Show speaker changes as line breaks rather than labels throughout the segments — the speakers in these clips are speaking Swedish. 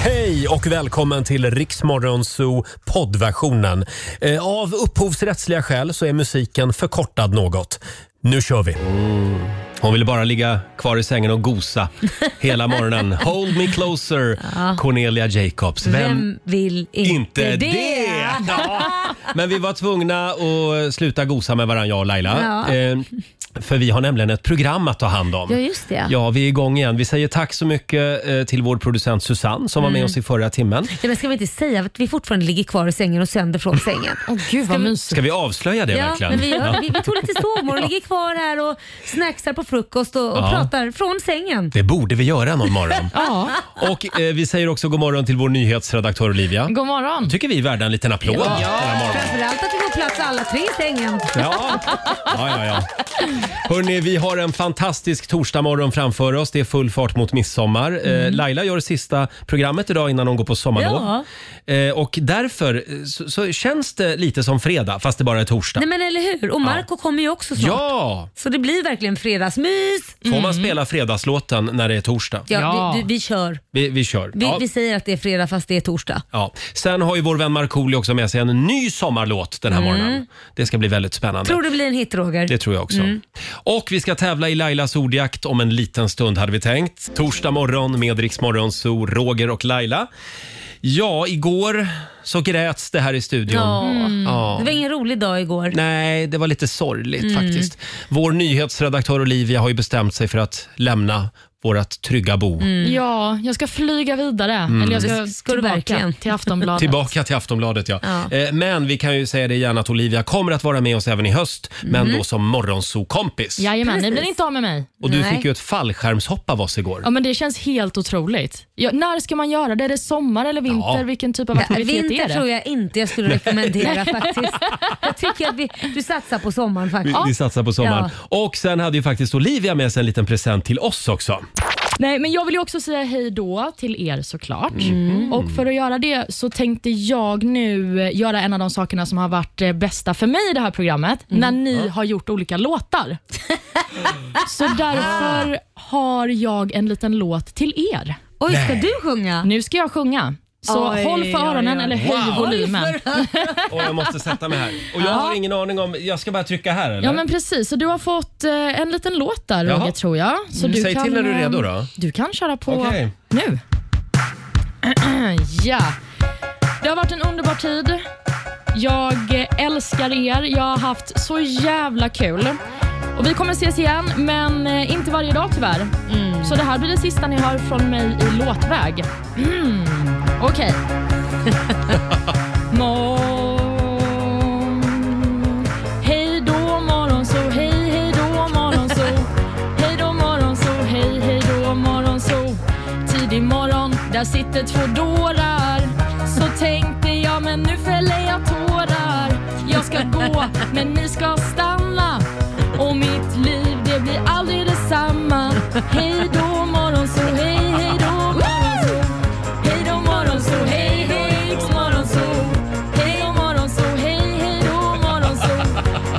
Hej och välkommen till Riksmorgonzoo poddversionen. Eh, Av upphovsrättsliga skäl så är musiken förkortad något. Nu kör vi! Mm. Hon ville bara ligga kvar i sängen och gosa hela morgonen. Hold me closer, Cornelia Jacobs.
Vem, vill inte,
Inte det! Ja. Men vi var tvungna att sluta gosa med varandra, jag och Laila.
Ja.
Eh, För vi har nämligen ett program att ta hand om.
Ja, just det.
Ja, vi är igång igen. Vi säger tack så mycket eh, till vår producent Susanne som var med oss i förra timmen.
Nej, men ska vi inte säga att vi fortfarande ligger kvar i sängen och sänder från sängen?
Åh gud vad mysigt.
Ska vi avslöja det
Ja,
verkligen?
men vi, gör,
Ja.
det. vi, vi tog lite sovmorgon, ligger kvar här och snacksar på frukost och, och
Ja.
pratar från sängen.
Det borde vi göra någon morgon.
Ja.
Och eh, vi säger också god morgon till vår nyhetsredaktör Olivia.
God morgon.
tycker vi är värda en liten applåd den här morgonen.
Framförallt att vi får plats alla tre i sängen.
Ja, ja, ja. ja. Hörrni, vi har en fantastisk torsdagmorgon framför oss. Det är full fart mot midsommar.
Mm.
Eh, Laila gör sista programmet idag innan hon går på sommarlov. Eh, och därför eh, så, så känns det lite som fredag, fast det bara är torsdag.
Nej men eller hur? Och Marco kommer ju också snart.
Ja!
Så det blir verkligen fredagsmys. Mm.
Får man spela fredagslåten när det är torsdag?
Ja,
Ja.
Vi, du, vi kör.
Vi, vi kör.
Vi,
Ja.
vi säger att det är fredag fast det är torsdag.
Ja. Sen har ju vår vän Markoolio också med sig en ny sommarlåt den här morgonen. Det ska bli väldigt spännande.
Mm. Tror Mm. det blir en hit Roger?
Det tror jag också. Och vi ska tävla i Lailas ordjakt om en liten stund hade vi tänkt. Torsdag morgon med Rix Morgon, så Roger och Laila. Ja, igår så gräts det här i studion.
Ja.
Mm.
Mm.
Ja.
Det var Mm. ingen rolig dag igår.
Nej, det var lite sorgligt faktiskt. Vår nyhetsredaktör Olivia har ju bestämt sig för att lämna vårt trygga bo.
Ja, jag ska flyga vidare.
Mm.
Eller jag ska,
Det ska du
tillbaka
verkligen.
till Aftonbladet.
Tillbaka till Aftonbladet ja.
Ja.
Eh, Men vi kan ju säga det igen att Olivia kommer att vara med oss även i höst, men då som morgonsokompis.
Mhm. Jajamän, ni
Precis.
blir inte av med mig.
Och du
Nej.
fick ju ett fallskärmshopp av oss igår.
Ja, men det känns helt otroligt. Ja, när ska man göra det? Är det sommar eller vinter?
Ja.
Vilken typ av aktivitet
Vinter
är det?
tror jag inte jag skulle rekommendera faktiskt. Jag tycker att vi, du satsar på sommaren
Vi,
faktiskt.
vi satsar på sommaren. Och sen hade ju faktiskt Olivia med sig en liten present till oss också.
Nej, men jag vill ju också säga hej då till er såklart.
Mm.
Och för att göra det så tänkte jag nu eh, göra en av de sakerna som har varit eh, bästa för mig i det här programmet,
Mm.
när ni har gjort olika låtar. så därför har jag en liten låt till er.
Oj, ska
Nej.
du sjunga?
Nu ska jag sjunga. Så
Oj,
håll för
oj,
öronen
oj.
eller höj
Wow.
volymen.
Och jag måste sätta mig här. Och jag har ingen aning om... Jag ska bara trycka här eller?
Ja men precis, så du har fått eh, en liten låt där
Jaha. Mm,
Roger tror jag. Så du
Säg
kan,
till när du är
eh,
redo då.
Du kan köra på
Okej.
nu. ja. Det har varit en underbar tid. Jag eh, älskar er. Jag har haft så jävla kul. Och Vi kommer ses igen, men eh, inte varje dag tyvärr. Så det här blir det sista ni hör från mig i låtväg. Mm. Okej. Morgon. Hej då morgonso, hej hej då morgonso. Hej då morgonso, hej hej då morgonso. Tidig morgon, där sitter två dårar. Så tänkte jag, men nu fäller jag tårar. Jag ska gå, men ni ska stanna. Och mitt liv, det blir aldrig detsamma. Hej då morgonso, hej hej då morgonso. Hej då morgonso, hej då Riks morgonso. Hej då morgonso, hej hej då morgonso.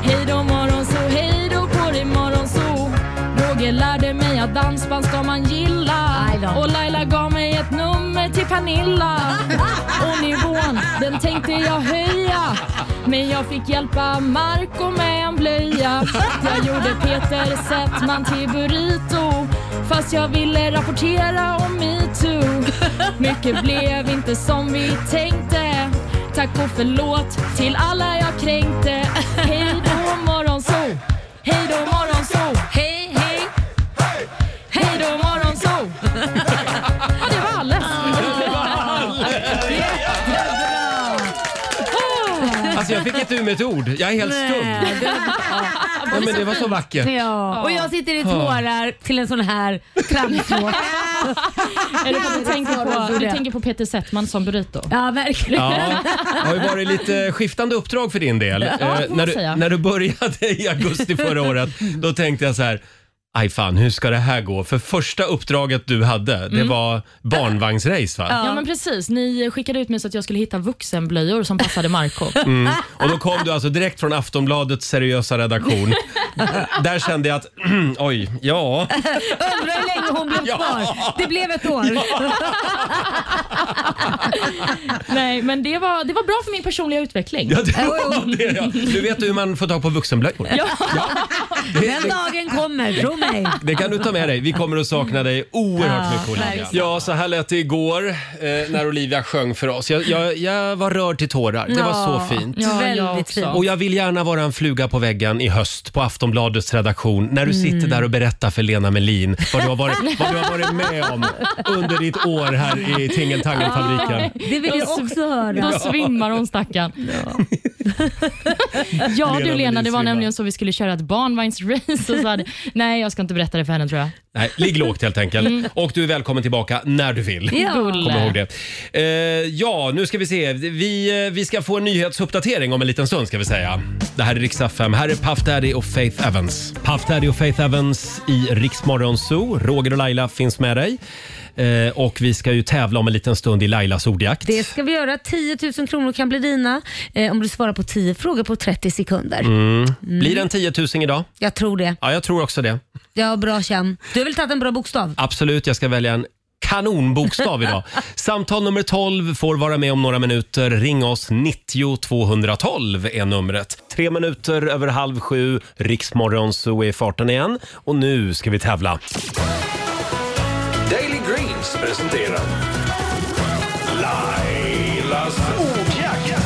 Hej då morgonso, hej då på dig morgonso. Roger lärde mig att dansband ska man gilla.
Aj då.
Och Laila gav mig ett nummer till Pernilla. Och nivån, den tänkte jag höja. Men jag fick hjälpa Marco med en blöja. Jag gjorde Peter Settman till Burrito. Fast jag ville rapportera om metoo. Mycket blev inte som vi tänkte. Tack och förlåt till alla jag kränkte. Hej då morgonsol. Hej då morgonsol.
Hej, hej.
Hej då morgonsol. Ja, det var alles.
Alltså jag fick inte ur mig ett ord. Jag är helt stum.
Nej, det-
Ja, men det var så vackert.
Ja. Och jag sitter i tårar till en sån här tramslåt.
Är det för att du tänker på, du tänker på Peter Settman som Burrito?
Ja, verkligen.
Ja, det har ju varit lite skiftande uppdrag för din del. Eh,
får man
när, du,
säga.
när du började i augusti förra året, då tänkte jag så här. Aj fan, hur ska det här gå? För första uppdraget du hade, det var barnvagnsrace va?
Mm. Ja men precis, ni skickade ut mig så att jag skulle hitta vuxenblöjor som passade Marco
Mm. Och då kom du alltså direkt från Aftonbladets seriösa redaktion. Där kände jag att, oj, ja.
Undrar hur länge hon blev
Ja.
kvar. Det blev ett år.
Nej men det var, det var bra för min personliga utveckling.
Ja, det var det, ja. Du vet hur man får tag på vuxenblöjor.
Ja.
Den dagen kommer, tro mig.
Det kan du ta med dig. Vi kommer att sakna dig oerhört
Ja,
mycket Olivia.
verkligen.
Ja, så här lät det igår eh, när Olivia sjöng för oss. Jag, jag, jag var rörd till tårar. Det var så
Ja.
fint.
Ja,
Väldigt
jag också.
fint.
Och jag vill gärna vara en fluga på väggen i höst på Aftonbladets redaktion när du
Mm.
sitter där och berättar för Lena Melin vad du har varit, vad du har varit med om under ditt år här i Tingeltangelfabriken.
Det vill jag också
Då
höra.
svimmar hon stackarn. Ja, du Lena,
Melin
det var
svimmar.
nämligen så vi skulle köra ett barnvagnsrace och så hade, Nej, jag ska inte berätta det för henne tror jag.
Nej, ligg lågt helt enkelt. Och du är välkommen tillbaka när du vill.
Mm. Ja.
Kom ihåg det. Eh, ja, nu ska vi se. Vi, eh, vi ska få en nyhetsuppdatering om en liten stund ska vi säga. Det här är Riksdag 5. Här är Puff Daddy och Faith Evans. Puff Daddy och Faith Evans i Riksmorgon Zoo. Roger och Laila finns med dig. Eh, och vi ska ju tävla om en liten stund i Lailas ordjakt.
Det ska vi göra. 10 000 kronor kan bli dina eh, om du svarar på 10 frågor på 30 sekunder.
Mm.
Mm.
Blir det en 10 000 idag?
Jag tror det.
Ja, jag tror också det.
Jag har bra känn. Du har väl tagit en bra bokstav?
Absolut, jag ska välja en kanonbokstav idag. Samtal nummer 12 får vara med om några minuter. Ring oss, 90 212 är numret. Tre minuter över halv sju, Riksmorgon så är farten igen. Och nu ska vi tävla.
Daily Greens presenterar Lailas ordjakt.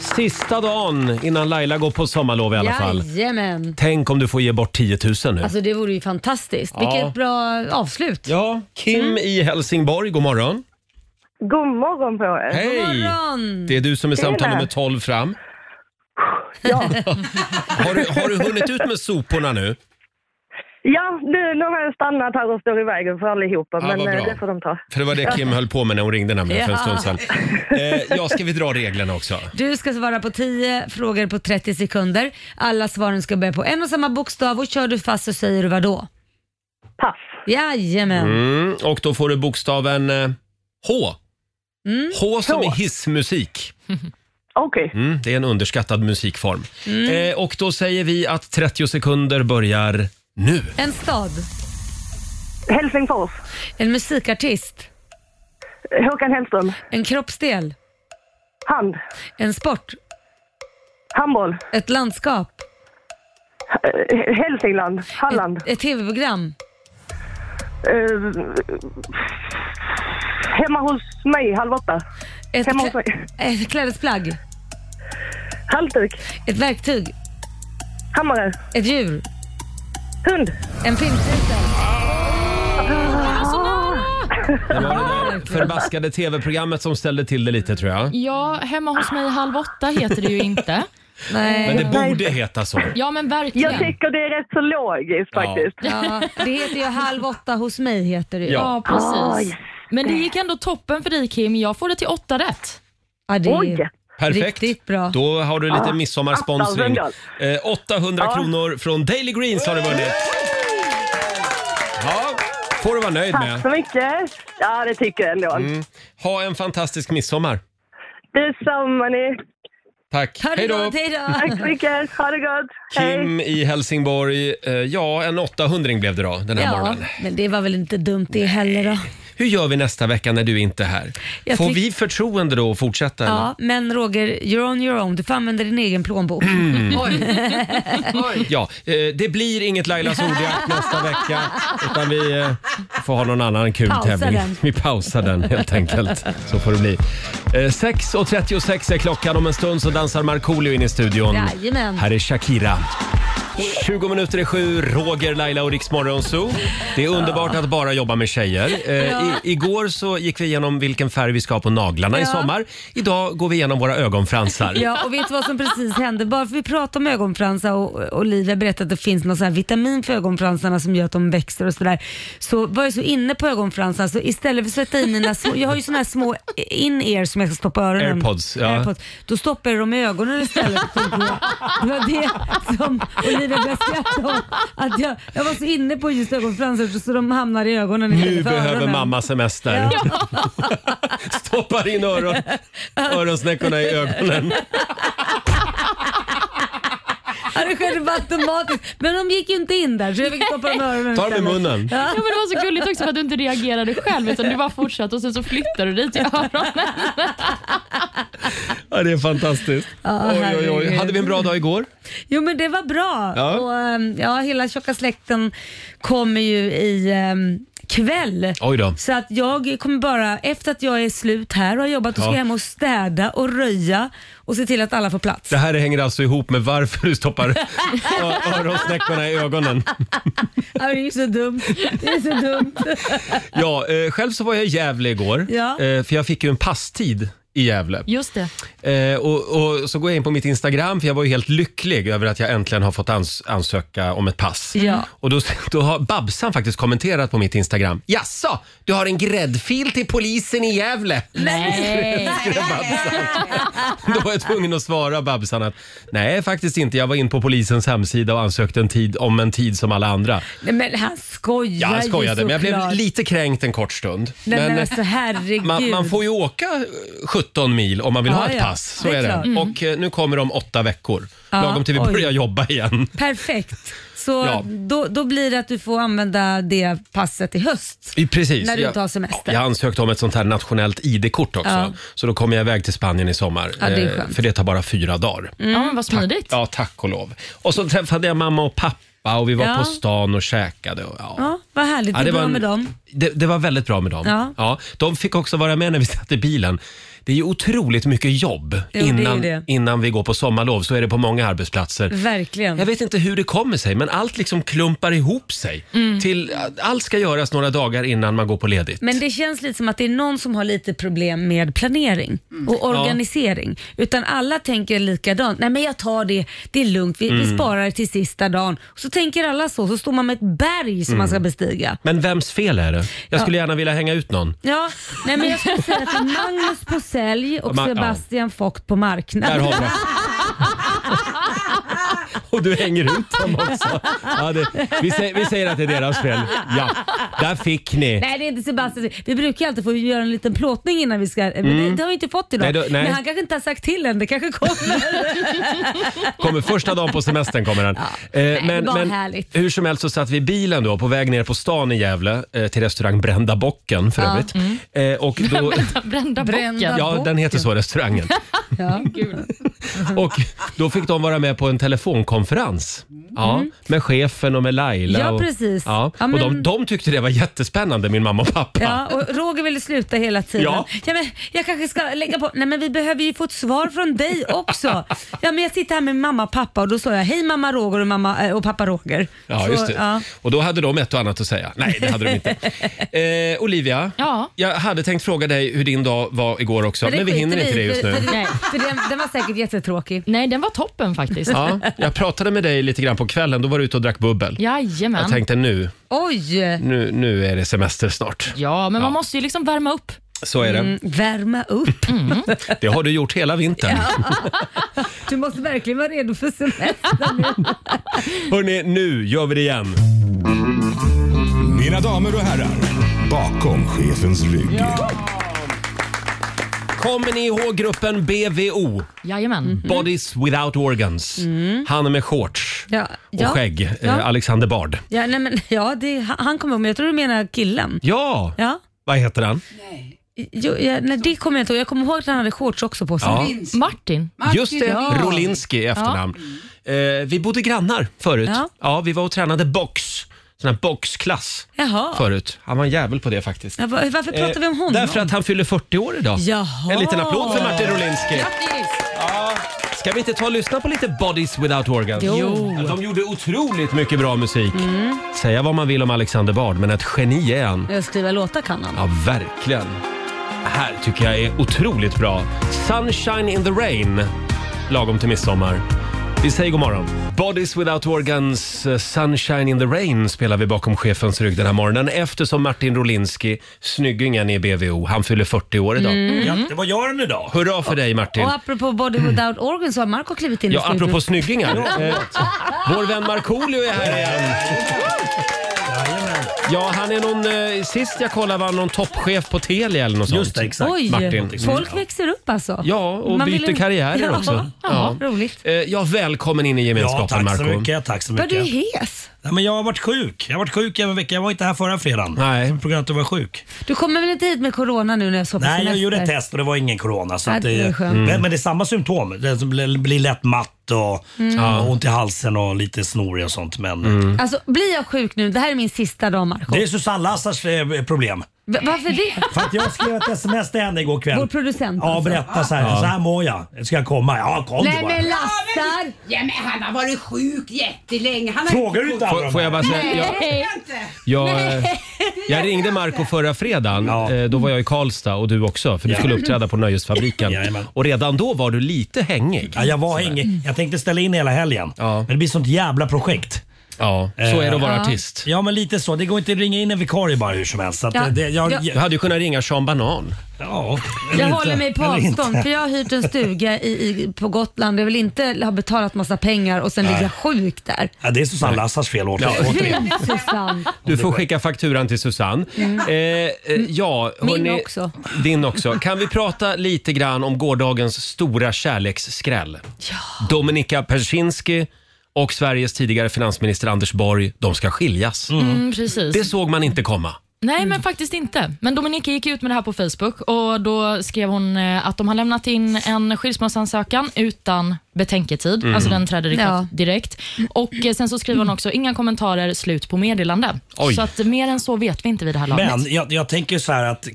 Sista dagen innan Laila går på sommarlov i alla fall.
Jajamän.
Tänk om du får ge bort 10 000 nu.
Alltså det vore ju fantastiskt. Vilket bra avslut.
Ja, Kim
Mm.
i Helsingborg, god morgon.
God morgon på er!
Hej!
Mm.
morgon.
Det är du som är samtal
Tjena.
nummer 12 fram.
Ja,
Har du, har du hunnit ut med soporna nu?
ja nu, nu har jag stannat här och står i vägen för allihopa,
Ja,
men
vad bra.
eh, det får de ta.
För det var det Kim höll på med när hon ringde nämligen för en
Ja.
stund sedan. Eh, ja, ska vi dra reglerna också?
Du ska svara på 10 frågor på 30 sekunder. Alla svaren ska börja på en och samma bokstav och kör du fast så säger du vad då?
Pass.
Jajamän.
Mm, och då får du bokstaven eh, H. H som
H.
är hissmusik.
Okej,
Mm, det är en underskattad musikform. Eh, och då säger vi att 30 sekunder börjar nu.
En stad.
Helsingfors.
En musikartist.
Håkan Hellström.
En kroppsdel.
Hand.
En sport.
Handboll.
Ett landskap.
Eh, Hälsingland. Halland.
Ett, ett tv-program.
Eh, hemma hos mig halv åtta.
Ett,
Hemma hos
klä,
mig.
ett klädesplagg.
Halsduk.
Ett verktyg.
Hammare.
Ett djur.
Hund.
En filmtitel.
Det var det där förbaskade tv-programmet som ställde till det lite tror jag.
Ja, hemma hos mig halv åtta heter det ju inte.
Men
Nej.
det borde heta så.
Ja men
Jag
verkligen.
tycker det är rätt så logiskt
Ja.
faktiskt.
Ja, det heter ju Halv åtta hos mig. heter det ju.
Ja.
Ja, precis. Men det gick ändå toppen för dig Kim. Jag får det till åtta rätt.
Ja, det
Oj.
är
Perfekt.
riktigt bra.
Då har du lite midsommarsponsring.
attas,
Eh, 800 kronor från Daily Greens har du vunnit. Ja, får du vara nöjd
Tack så
med. Mm.
mycket. Ja, det tycker jag ändå.
Ha en fantastisk midsommar.
Detsamma ni.
Tack.
Ha det
Hej då.
gott, hej då.
Tack så mycket. Ha det gott. Hej.
Kim i Helsingborg. Eh, Ja, en 800 blev det då den här
Ja,
morgonen.
men det var väl inte dumt det heller då.
Hur gör vi nästa vecka när du inte är här?
Jag
Får
tyck-
vi förtroende då att fortsätta? eller?
Ja, men Roger, you're on your own. Du får använda din egen plånbok.
Ja, eh, det blir inget Lailas ordjakt nästa vecka utan vi eh, får ha någon annan kul
Pausa
tävling.
den.
Vi pausar den helt enkelt. Så får det bli. Eh, 6.36 är klockan. Om en stund så dansar Markoolio in i studion.
Jajamän.
Här är Shakira. 20 minuter i sju, Roger, Laila och Riksmorgon Zoo. Det är underbart att bara jobba med tjejer. Eh, i, igår så gick vi igenom vilken färg vi ska ha på naglarna i
Ja.
sommar. Idag går vi igenom våra ögonfransar.
Ja, och vet du vad som precis hände? Bara för vi pratar om ögonfransar och och Olivia berättade att det finns någon sån här vitamin för ögonfransarna som gör att de växer och sådär. Så var jag så inne på ögonfransar så istället för att sätta i mina små, jag har ju såna här små in-ear som jag ska stoppa i öronen.
Airpods, ja.
Airpods. Då stoppar jag dem i ögonen istället. tänkte jag. Det var det som Olivia började skratta åt. Att jag, jag var så inne på just ögonfransar så- så de hamnar i ögonen
Nu
istället för
behöver
öronen.
mamma semester. Stoppar in öron, öronsnäckorna i ögonen.
Ja, det skedde bara automatiskt. Men de gick ju inte in där så jag fick stoppa dem i öronen
Ta dem i
istället.
munnen.
Ja.
Ja, men det var så gulligt också för att du inte reagerade själv utan du bara fortsatte och sen så flyttade du dig till öronen.
Ja, det är fantastiskt.
Ja,
Oj, oj, oj.
herregud.
Hade vi en bra dag igår?
Jo men det var bra.
Ja.
Och, ehm, ja, hela tjocka släkten kommer ju i ehm, kväll.
Oj då.
Så att jag kommer bara, efter att jag är slut här och har jobbat,
Ja.
och ska jag hem och städa och röja och se till att alla får plats.
Det här hänger alltså ihop med varför du stoppar ö- öronsnäckorna i ögonen.
Ja, det är ju så dumt. Det är så dumt.
Ja, eh, själv så var jag i Gävle igår,
Ja.
eh, för jag fick ju en passtid i Gävle.
Just det.
Eh, och, och så går jag in på mitt Instagram, för jag var ju helt lycklig över att jag äntligen har fått ans- ansöka om ett pass.
Ja.
Och då, då har Babsan faktiskt kommenterat på mitt Instagram. Jaså, du har en gräddfil till polisen i Gävle?
Nej.
Skrev Babsan. Då var jag tvungen att svara Babsan att nej, faktiskt inte. Jag var in på polisens hemsida och ansökte en tid, om en tid som alla andra.
Nej, men han skojar
Ja, jag skojade,
ju
men jag blev
såklart.
lite kränkt en kort stund.
Nej, men,
Men, eh,
alltså herregud.
man, man får ju åka eh, 17 mil om man vill
Ja,
ha ett
ja.
pass. Så
Det
är,
är
det.
klart.
Och eh, nu kommer de åtta veckor.
Ja,
Lagom till vi
oj.
börjar jobba igen.
Perfekt. Så
Ja.
då, då blir det att du får använda det passet i höst.
I- Precis.
När du
Jag-
inte har semester.
Jag ansökte om ett sånt här nationellt ID-kort också.
Ja.
Så då kommer jag iväg till Spanien i sommar.
Ja, det är
eh,
skönt. Mm.
För det tar bara fyra dagar.
Ja, men vad smidigt.
Ja, tack och lov. Och så träffade jag mamma och pappa och vi var
Ja.
på stan och käkade. Och, ja.
Ja, vad härligt.
Ja,
det är bra
var en-
med dem.
Det, det var väldigt bra med dem.
Ja.
de fick också vara med när vi satt i bilen. Det är ju otroligt mycket jobb
det är ju
innan,
det.
innan vi går på sommarlov. Så är det på många arbetsplatser.
Verkligen.
Jag vet inte hur det kommer sig, men allt liksom klumpar ihop sig. Till, allt ska göras några dagar innan man går på ledigt.
Mm. Men det känns lite som att det är någon som har lite problem med planering
Mm.
och organisering. Utan alla tänker likadant. Nej men jag tar det, det är lugnt, vi,
Mm.
vi sparar till sista dagen. Så tänker alla så, så står man med ett berg som man
Mm.
ska bestiga.
Men vems fel är det? Jag skulle gärna vilja hänga ut någon.
Ja, nej men jag skulle säga att det är Magnus på sälj och
Ma- ja.
Sebastian Vogt på
Där
marknad.
har vi Och du hänger ut dem också. Ja, det, vi, säger, vi säger att det är deras fel. Ja, där fick ni.
Nej det är inte Sebastian. Vi brukar ju alltid få göra en liten plåtning innan vi ska, men det, det har vi inte fått idag.
Mm. Nej, då- nej.
Men han kanske inte har sagt till än, det kanske kommer.
Kommer första dagen på semestern kommer den. Eh,
vad härligt.
hur som helst så satt vi i bilen då på väg ner på stan i Gävle eh, till restaurang Brända Bocken för övrigt. Eh, och då,
Brända bocken.
Mm. Brända.
ja, den heter så restaurangen.
ja.
Och då fick de vara med på en telefonkonferens. Ja, Med chefen och med Laila.
Mm. Ja,
och,
precis.
Ja,
Ja,
och de,
men-
de tyckte det var jättespännande, min mamma och pappa.
Ja, och Roger ville sluta hela tiden.
Ja.
Ja. men jag kanske ska lägga på. Nej men vi behöver ju få ett svar från dig också. Ja men jag sitter här med mamma och pappa och då sa jag hej mamma Roger och, mamma, eh, och pappa Roger.
Ja,
Så,
just det.
ja.
Och då hade de ett och annat att säga. Nej, det hade de inte. Eh, Olivia,
Ja.
jag hade tänkt fråga dig hur din dag var igår också, men,
det
vi
skiter
hinner inte
i,
det just nu.
För, för,
Nej.
för den, den var säkert jättetråkig.
Nej, den var toppen faktiskt.
Ja, jag pratade med dig lite grann på kvällen, då var du ute och drack bubbel.
Jajamän.
Jag tänkte nu,
Oj!
nu, nu är det semester snart.
Ja, men man
Ja.
måste ju liksom värma upp. Mm.
Så är
Mm.
det.
Värma upp.
Det har du gjort hela vintern.
Du måste verkligen vara redo för semester nu.
Hörni, nu gör vi det igen.
Mina damer och herrar, bakom chefens rygg.
Kommer ni ihåg gruppen BVO?
Jajamän.
Mm-hmm.
Bodies without organs. Han med shorts
Ja,
och
Mm. ja,
skägg, eh,
ja.
Alexander Bard.
Ja, nej, men, ja det, han han kommer ihåg, men jag tror du menar killen.
Ja,
Ja.
vad heter han?
Jo, ja, nej, det kommer jag inte ihåg. Jag kommer ihåg att han hade shorts också på sig.
Ja.
Martin.
Just det, Rolinski i efternamn. Eh, vi bodde grannar förut. Ja.
Ja.
vi var och tränade box. Sån här boxklass
Jaha.
förut. Han var en jävel på det faktiskt. Eh,
Ja, va- Varför pratar vi om honom?
Därför att han fyller 40 år idag.
Jaha.
En liten applåd för Martin Rolinski.
Grattis!
Ska vi inte ta och lyssna på lite Bodies Without Organs?
Jo. Mm.
Ja, de gjorde otroligt mycket bra musik. Säga vad man vill om Alexander Bard, men ett geni är han.
Jag skriver låtar kan han.
Ja, verkligen. Det här tycker jag är otroligt bra. Sunshine in the rain, lagom till midsommar. Vi säger god morgon. Bodies Without Organs eh, Sunshine in the Rain spelar vi bakom chefens rygg den här morgonen eftersom Martin Rolinski, snyggingen i BVO, han fyller 40 år idag.
Mm. Ja, det var jag den idag.
Hurra för dig Martin! Mm.
Och apropå Body Without Organ så har Marco klivit in i
Ja,
studion.
apropå snyggingar. Eh, vår vän Markoolio är här igen.
Jajamän.
Ja, han är någon, eh, sist jag kollade var han någon toppchef på Telia eller något sånt.
Just det, exakt.
Oj,
Martin. Mm.
folk växer upp alltså.
Ja, och
Man
byter
vill-
karriärer
ja.
också.
Ja, roligt.
Eh, ja, välkommen in i
Ja,
gemenskapen
tack så
Marco.
mycket. Tack så
Vad du är
mycket.
hes.
Nej, men jag har varit sjuk. Jag har varit sjuk en vecka. Jag var inte här förra fredagen.
Nej.
På grund av att jag var sjuk.
Du kommer väl inte hit med corona nu när jag ska på
Nej, jag
semester?
gjorde ett test och det var ingen corona. Så
Ja,
att
det är
det, Mm.
skönt.
men, men det är samma symptom. Det som blir, blir lätt matt och, och ont i halsen och lite snorig och sånt. Men
Mm. Alltså blir jag sjuk nu? Det här är min sista dag Marco.
det är Susanne Lassars eh, problem.
V- Varför det?
För att jag skrev ett sms till henne igår kväll.
Vår producent,
Ja,
alltså.
berätta så här. Så här mår jag. Ska jag komma? Ja, kom du
Nej
bara.
men Lassar!
Ja, men han har varit sjuk jättelänge. Han har
Frågar du inte
Får, får jag bara säga, jag,
Nej, inte.
jag, eh, jag ringde Marco förra fredagen.
Ja.
Eh, Då var jag i Karlstad och du också, för du
Ja.
skulle uppträda på Nöjesfabriken.
Jajamän.
Och redan då var du lite hängig.
Ja, jag var ingen. Jag tänkte ställa in hela helgen.
Ja.
Men det blir sånt jävla projekt. Eh,
Ja, så är det att vara artist.
Ja, men lite så. Det går inte att ringa in en vikarie bara hur som helst. Så att
Ja.
eh, det, jag,
Ja.
Du hade ju kunnat ringa Sean Banan.
ja,
Jag
eller inte.
håller mig på
Eller inte.
avstånd för jag har hyrt en stuga i, i, på Gotland. Jag vill inte ha betalat massa pengar och sen ligga sjuk där.
Ja, det är Susanne Lassars fel åter- återigen.
Susanne.
Du får skicka fakturan till Susanne. Eh, eh, ja,
Mm. Min
hörni,
också.
Din också. Kan vi prata lite grann om gårdagens stora kärleksskräll? Dominika Persinski och Sveriges tidigare finansminister Anders Borg, de ska skiljas.
Mm, precis.
Det såg man inte komma.
Nej,
Mm.
men faktiskt inte. Men Dominika gick ut med det här på Facebook och då skrev hon eh, att de har lämnat in en skilsmässoansökan utan betänketid.
Mm.
Alltså den träder i kraft
Ja.
direkt. Och eh, sen så skriver hon också, inga kommentarer, slut på meddelande.
Oj.
Så att mer än så vet vi inte vid det här laget.
Men jag, jag tänker så här att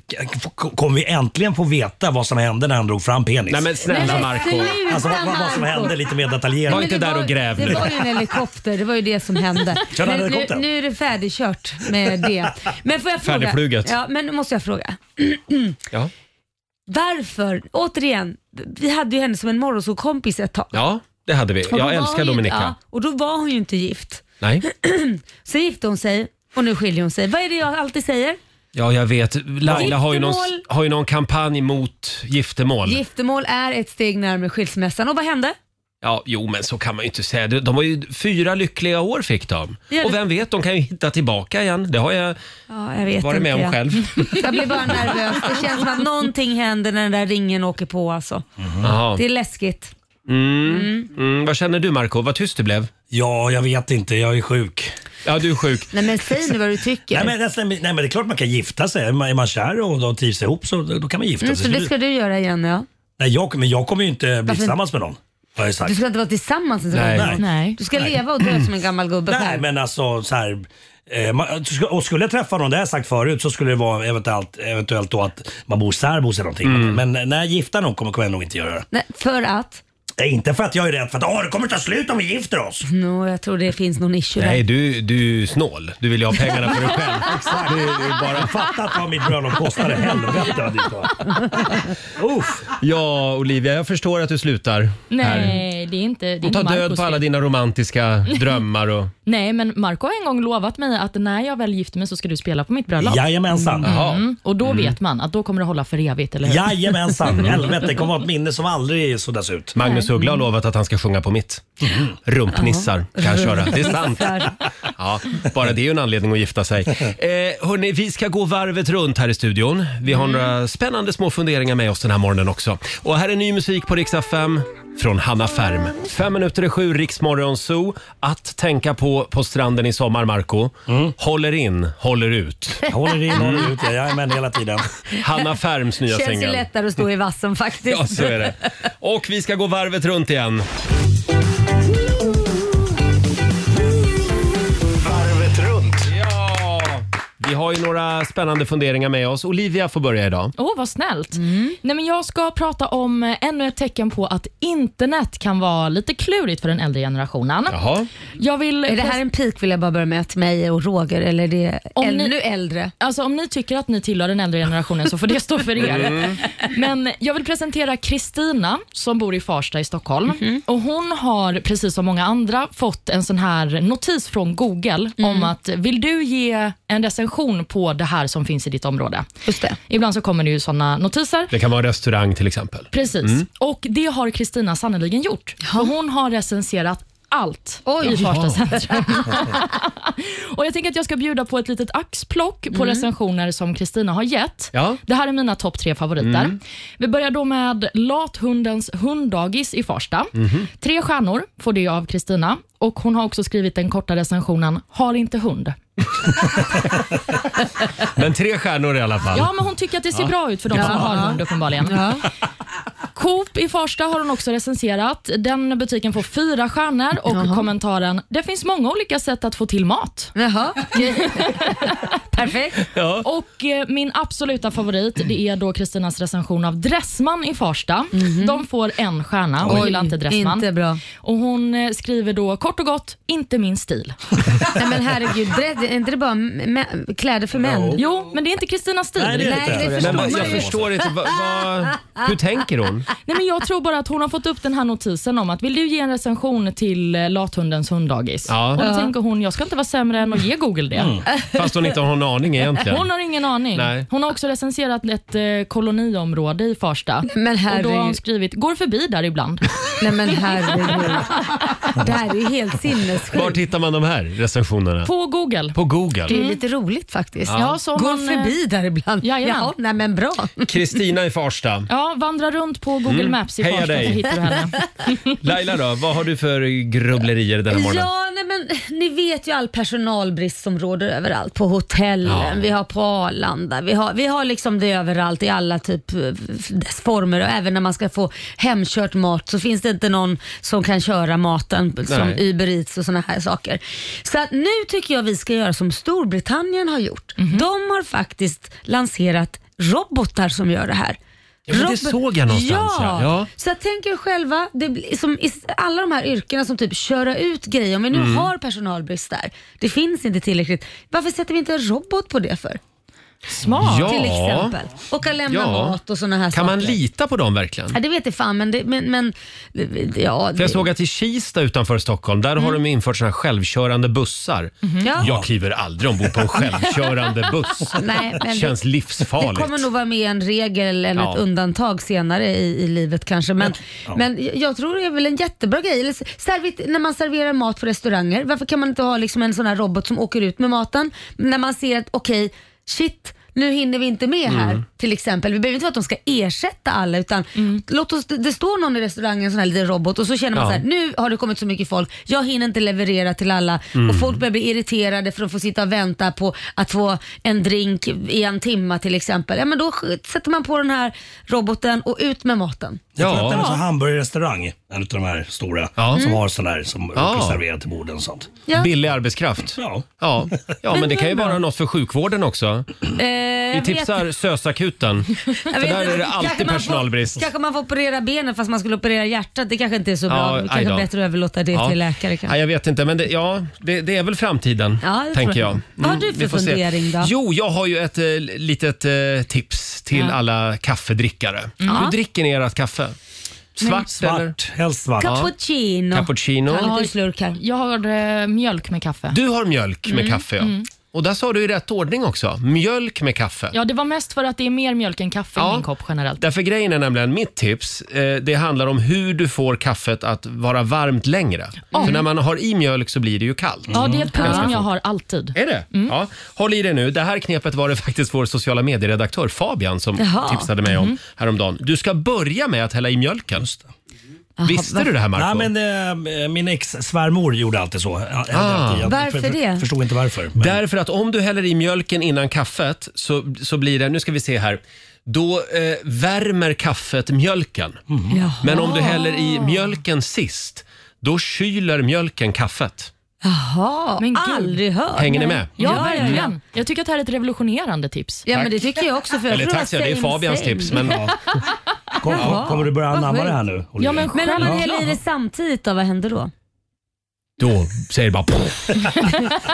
k- kommer vi äntligen få veta vad som hände när han drog fram penis?
Nej men snälla
Men
Marco
sluta,
Alltså vad, vad, vad som
Marco.
hände lite mer
Var
detaljerat.
inte
Men det
där
var-
och gräv nu.
Det var ju en helikopter, det var ju det som hände.
Kör den
nu, nu,
helikoptern.
nu är det färdigkört med det. Men får jag fråga?
Färdigfluget.
Ja, men nu måste jag fråga.
Ja.
Varför? Återigen, vi hade ju henne som en morgonsovkompis ett tag.
ja, det hade vi.
Och då var
Jag älskar
hon ju-
Dominika.
ja, och då var hon ju inte gift.
Nej.
Så gifte hon sig och nu skiljer hon sig. Vad är det jag alltid säger?
Ja, jag vet. Laila har ju, någon,
Giftermål.
har ju någon kampanj mot giftermål.
Giftermål är ett steg närmare skilsmässan. Och vad hände?
Ja, jo men så kan man ju inte säga. De var ju fyra lyckliga år fick de.
Ja,
Och
det-
vem vet, de kan ju hitta tillbaka igen. Det har jag
Ja, jag vet
varit
inte
med om
jag.
själv.
Jag blir bara nervös. Det känns som att någonting händer när den där ringen åker på alltså.
Mhm. Jaha.
Det är läskigt.
Mm, vad känner du Marco? Vad tyst du blev.
Ja, jag vet inte. Jag är sjuk.
Ja, du är sjuk.
Nej men säg nu vad du tycker.
Nej men, det- nej men det är klart man kan gifta sig. Är man, är man kär och de trivs ihop så då då kan man gifta
mm,
sig.
så
Så
det ska du göra igen ja.
Nej, jag, men jag kommer ju inte bli
Varför?
tillsammans med någon. Har jag
Du
sagt.
ska inte vara tillsammans ens.
Nej.
Nej.
Nej.
Du ska leva och dö som en gammal gubbe
Nej
själv.
men alltså så här. eh, man- Och skulle jag träffa någon, det har jag sagt förut, så skulle det vara eventuellt, eventuellt då att man bor särbos eller någonting.
Mm.
Men när jag gifter någon kommer kommer jag nog inte göra det.
Nej, för att?
Nej, inte för att jag är rädd för att åh, det kommer ta slut om vi gifter oss.
No, jag tror det finns någon issue
Nej,
där.
du, du är snål. Du vill ju ha pengarna för dig själv.
Exakt. Det är bara fattat vad mitt bröllop kostade. Helvete vad dyrt det var. Uff.
Ja, Olivia, jag förstår att du slutar.
Nej, det är inte det är
Och tar
inte
död
Marcos
på alla
fel.
dina romantiska drömmar och...
Nej, men Marco har en gång lovat mig att när jag väl gifter mig så ska du spela på mitt bröllop.
Jajamensan.
Ja.
Mm, och då vet man att då kommer det hålla för evigt, eller hur?
Jajamensan. Helvete, det kommer vara ett minne som aldrig suddas ut. Mm.
Magnus Uggla har lovat att han ska sjunga på mitt. Rumpnissar kan jag köra. Det är sant. Ja, bara det är ju en anledning att gifta sig. Eh, hörni, vi ska gå varvet runt här i studion. Vi har
Mm.
några spännande små funderingar med oss den här morgonen också. Och här är ny musik på riksdag 5 från Hanna Färm. Fem minuter i sju, Riksmorgon Zoo. Att tänka på på stranden i sommar, Marco. Håller in, håller ut.
Jag Mm. håller in, håller ut. Jajamän, hela tiden.
Hanna Färms nya
Känns ju
singel.
lättare att stå i vassen faktiskt.
Ja, så är det. Och vi ska gå varvet runt igen.
Varvet runt.
Ja! Vi har ju några spännande funderingar med oss. Olivia får börja idag.
Åh, vad snällt. Nej, men jag ska prata om eh, ännu ett tecken på att internet kan vara lite klurigt för den äldre generationen.
Jaha.
Jag vill
Är det här en pik vill jag bara börja med till mig och Roger eller är det
Om ni-
ännu äldre?
Alltså om ni tycker att ni tillhör den äldre generationen så får det stå för er. Men jag vill presentera Kristina som bor i Farsta i Stockholm. Och Hon har, precis som många andra, fått en sån här notis från Google
Mm.
om att vill du ge en recension på det här som finns i ditt område?
Just det.
Ibland så kommer det ju såna notiser.
Det kan vara en restaurang till exempel. Mm.
Precis. Och det har Kristina sannoliken gjort. För hon har recenserat allt
Oj.
i Farsta centrum. och jag tänker att jag ska bjuda på ett litet axplock på recensioner som Kristina har gett.
Ja.
Det här är mina topp tre favoriter. Vi börjar då med Lathundens hunddagis i Farsta.
Mhm.
Tre stjärnor får det av Kristina. Och Hon har också skrivit den korta recensionen “Har inte hund”.
Men tre stjärnor i alla fall.
Ja, men hon tycker att det ser bra ut för de som har hund uppenbarligen. Coop i Farsta har hon också recenserat. Den butiken får fyra stjärnor och kommentaren “Det finns många olika sätt att få till mat”.
Jaha. Perfekt.
Och eh, min absoluta favorit det är då Kristinas recension av Dressman i Farsta. De får en stjärna och gillar inte Dressman.
Mhm. Inte bra.
Och hon eh, skriver då kort och gott “Inte min stil”.
Nej men herregud, bredd, är inte det bara mä- kläder för män?
Jo, men det är inte Kristinas stil.
Nej, det är det inte.
Nej, det
Men
förstår
vad-
man
jag
ju.
förstår inte. Vad- vad- hur tänker hon?
Nej, men jag tror bara att hon har fått upp den här notisen om att vill du ge en recension till eh, lathundens hunddagis?
Ja. Mm.
Och då tänker hon, jag ska inte vara sämre än att ge Google det.
Fast hon inte har någon aning egentligen.
Hon har ingen aning.
Nej.
Hon har också recenserat ett eh, koloniområde i Farsta.
Men
och då har hon
herregud.
skrivit, går förbi där ibland.
Nej men herregud. Det här är ju helt
Var
sinnessjukt.
hittar man de här recensionerna?
På Google.
På Google.
Det är lite roligt faktiskt.
Ja, så om
Går
man, eh,
förbi där ibland.
jajamän.
Jaha, nej men bra.
Kristina i Farsta.
Ja, vandra runt på Google Maps i
Mm. Heja
Farsta så
dig.
hittar du henne.
Laila då, vad har du för grubblerier den här morgonen?
Ja, nej men ni vet ju all personalbrist som råder överallt. På hotellen,
Ja.
vi har på Arlanda, vi har, vi har liksom det överallt i alla typ eh, f- dess former och även när man ska få hemkört mat så finns det inte någon som kan köra maten som
Nej.
Uber Eats och sådana här saker. Så att nu tycker jag vi ska göra som Storbritannien har gjort.
Mhm.
De har faktiskt lanserat robotar som gör det här.
Ja, men det
Robot-
såg jag någonstans, ja.
Ja.
Ja.
Så jag tänker själva, det blir som i s- alla de här yrkena som typ köra ut grejer, om vi
Mm.
nu har personalbrist där, det finns inte tillräckligt, varför sätter vi inte en robot på det för?
Smart.
Ja.
Till exempel. Och att lämna
Ja.
mat och sådana här
Kan
saker.
man lita på dem verkligen?
Ja, det vet jag fan, men, det, men, men ja.
För
Det, Mm.
jag såg att i Kista utanför Stockholm, där har de infört såna här självkörande bussar.
Mhm. Ja.
Jag kliver aldrig ombord på en självkörande buss.
Nej, men det-
Känns
det
livsfarligt.
kommer nog vara med en regel eller
Ja.
ett undantag senare i, i livet kanske. Men, men jag- jag tror det är väl en jättebra grej. Eller, s- servit, när man serverar mat på restauranger, varför kan man inte ha liksom en sån här robot som åker ut med maten? När man ser att okej, shit, nu hinner vi inte med här
Mm.
till exempel. Vi behöver inte vara att de ska ersätta alla utan låt oss, det- det står någon i restaurangen, en sån här liten robot och så känner man
Ja.
så här, nu har det kommit så mycket folk, jag hinner inte leverera till alla
Mm.
och folk börjar bli irriterade för att få sitta och vänta på att få en drink i en timma till exempel. Ja, men då sk- sätter man på den här roboten och ut med maten.
Jag tror att det är typ en
Ja.
sån hamburgerrestaurang, en av de här stora,
Ja. Mm.
som har sådär som
Ja.
ja. serverar till borden och sånt.
Ja.
Billig arbetskraft.
Ja.
Ja, ja men det kan ju vara något för sjukvården också. Vi
Eh, jag
tipsar SÖS-akuten. För
vet
där
inte.
är det
Kanske
alltid
man får-
personalbrist.
Kanske man får operera benen fast man skulle operera hjärtat. Det kanske inte är så
Ja,
bra. Det
aj
kanske
då.
är bättre att överlåta det
Ja.
till läkare. Kanske.
Ja, jag vet inte, men det, ja, det, det är väl framtiden,
Ja, det
tänker
tror jag.
jag. Mm,
Vad har du för
vi får se.
fundering då?
Jo, jag har ju ett eh, litet eh, tips till alla kaffedrickare.
Mm.
Hur dricker ni ert kaffe? Svart, eller?
Svart, helst svart.
Cappuccino.
Cappuccino.
Ta en liten slurk här.
Jag har eh, mjölk med kaffe.
Du har mjölk
Mm.
med kaffe, ja. Och där sa du i rätt ordning också. Mjölk med kaffe.
Ja, det var mest för att det är mer mjölk än kaffe
Ja.
i min kopp generellt.
Därför grejen är nämligen, mitt tips, eh, det handlar om hur du får kaffet att vara varmt längre. För när man har i mjölk så blir det ju kallt.
Ja, det är ett problem
Mm. Ganska
jag
fort.
har alltid.
Är det?
Mm.
Ja. Håll i det nu. Det här knepet var det faktiskt vår sociala medieredaktör Fabian som
Jaha. Mm-hmm.
tipsade mig om häromdagen. Du ska börja med att hälla i mjölken. Visste du det här Marco?
Nej, men, eh, min ex-svärmor gjorde alltid så. Jag- jag- jag- jag-
Varför
för-
det?
förstod inte varför. Men,
Ah. Därför att om du häller i mjölken innan kaffet så, så blir det, nu ska vi se här, då eh, värmer kaffet mjölken.
Mhm.
Men om du häller i mjölken sist, då kyler mjölken kaffet.
Jaha,
Men gud.
aldrig hört.
Hänger ni med?
Ja,
Ja,
verkligen.
ja, ja.
Jag tycker att det här är ett revolutionerande tips.
Ja,
Tack.
men det tycker jag också. För jag
Eller
tror
tack
att
säger jag, det är
same,
Fabians
same.
tips. Men
Kom,
Jaha.
Kommer du börja
Vad
anamma
sjukt.
det här nu? Oliver?
Ja, men
Men om man
Ja.
häller i det samtidigt då, vad händer då?
då säger det bara "Poff."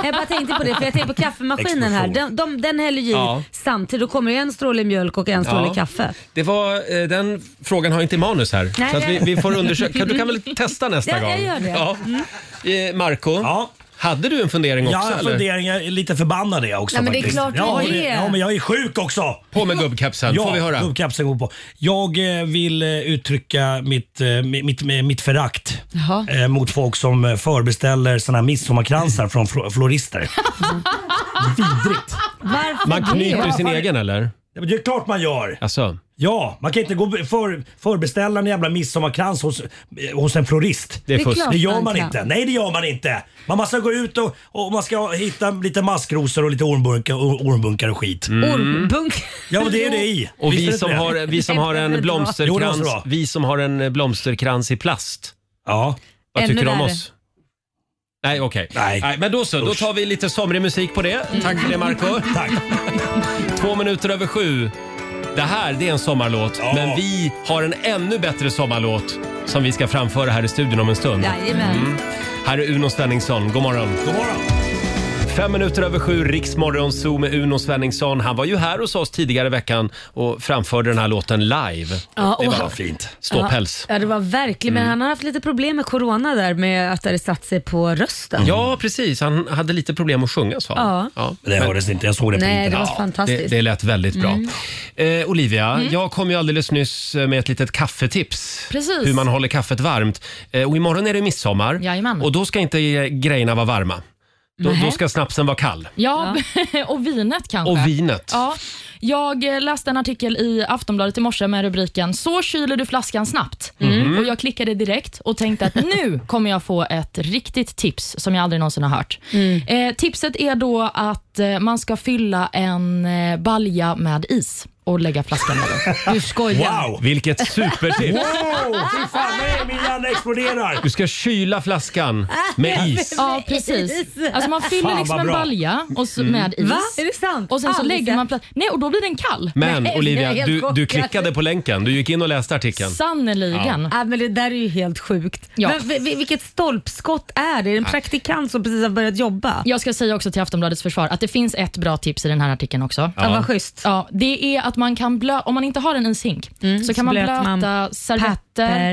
Jag bara tänkte på det, för jag tänkte på kaffemaskinen här. Den, de, den häller ju i
Ja.
samtidigt. Då kommer det en stråle mjölk och en stråle
Ja.
kaffe.
Det var, eh, den frågan har inte i manus här.
Nej,
så att vi,
det-
vi får undersöka. Kan- Du kan väl testa nästa
Ja,
gång?
jag gör det. Mm.
Ja. Eh, Marco,
Ja.
hade du en fundering också?
Ja, jag
eller?
funderingar är lite förbannad är jag också
Nej, men det är
faktiskt.
klart
ja,
du
det-
är.
Ja, men jag är sjuk också!
På med gubbkepsen, får vi höra.
gubbkapseln går på. Jag eh, vill eh, uttrycka mitt, eh, mi- mitt, mi- mitt förakt
Jaha.
eh, mot folk som eh, förbeställer såna här midsommarkransar från flo- florister. Vidrigt!
Varför
Man knyter
det?
sin egen eller?
Ja, men Det är klart man gör!
Alltså,
Ja, man kan inte gå för, förbeställa en jävla midsommarkrans hos, eh, hos en florist.
det är fusk.
klart
Det gör man
kan.
inte. Nej, det gör man inte. Man måste gå ut och, och man ska hitta lite maskrosor och lite ormbunkar, or- ormbunkar och skit.
Ormbunk.
Ja, men det är det i.
Mm. Och
Visste
vi
du
som,
inte det?
har, vi som har
Jo, det
en
var bra.
Jo, det var så
blomsterkrans,
bra.
vi som har en blomsterkrans i plast.
Ja.
Vad
Ännu
tycker du om
värre.
oss? Nej, okej.
Nej.
Men då så, då
Usch. Mm.
tar vi lite somrig musik på det. Tack för det Marco.
Tack.
Två minuter över sju. Det här det är en sommarlåt,
Ja.
men vi har en ännu bättre sommarlåt som vi ska framföra här i studion om en stund. Mm.
Jajamän.
Här är Uno Svenningsson, god morgon.
God morgon.
Fem minuter över sju, Riksmorgon Zoo med Uno Svenningsson. Han var ju här hos oss tidigare i veckan och framförde den här låten live.
Ja,
Det
och-
var
Vad fint.
ståpäls. Mm.
Ja, det var verkligen. Men han har haft lite problem med corona där med att det hade satt sig på rösten.
Ja, precis. Han hade lite problem att sjunga sa han.
Ja.
Ja.
Det hördes inte. Jag såg det på
Nej, det
internet.
var
Ja.
fantastiskt. Mm.
Det, det lät väldigt bra. Eh, Olivia, jag kom ju alldeles nyss med ett litet kaffetips.
Precis.
Hur man håller kaffet varmt. Eh, och imorgon är det midsommar
Jajamän.
och då ska inte eh, grejerna vara varma. Då, då ska snapsen vara kall.
Ja, och vinet kanske.
Och vinet.
Ja, jag eh, läste en artikel i Aftonbladet i morse med rubriken “Så kyler du flaskan snabbt”. Och Jag klickade direkt och tänkte att nu kommer jag få ett riktigt tips som jag aldrig någonsin har hört.
Mm.
Eh, tipset är då att eh, man ska fylla en eh, balja med is och lägga flaskan där.
Du skojar.
Wow!
Vilket supertips!
Wow! Fy fan, nej, min hjärna exploderar.
Du ska kyla flaskan med is.
Ja, precis. Alltså man fyller
Fan,
liksom
vad
en
bra.
balja och så, med is.
Va? Är det sant?
Och sen så
Aldrig
lägger man
sett.
pla- Nej, och då blir den kall.
Men
Nej, jag är
Olivia,
helt
du, du
chockad.
klickade på länken. Du gick in och läste artikeln.
Sannerligen.
Ja, Äh, men det där är ju helt sjukt.
Ja.
Men, vi- vi- vilket stolpskott är det? Är det en praktikant som precis har börjat jobba?
Jag ska säga också till Aftonbladets försvar att det finns ett bra tips i den här artikeln också.
Ja, vad schysst.
Ja, det är att man kan blö om man inte har en ishink så kan man
blöt
blöta
Mm, man
servetter
papper.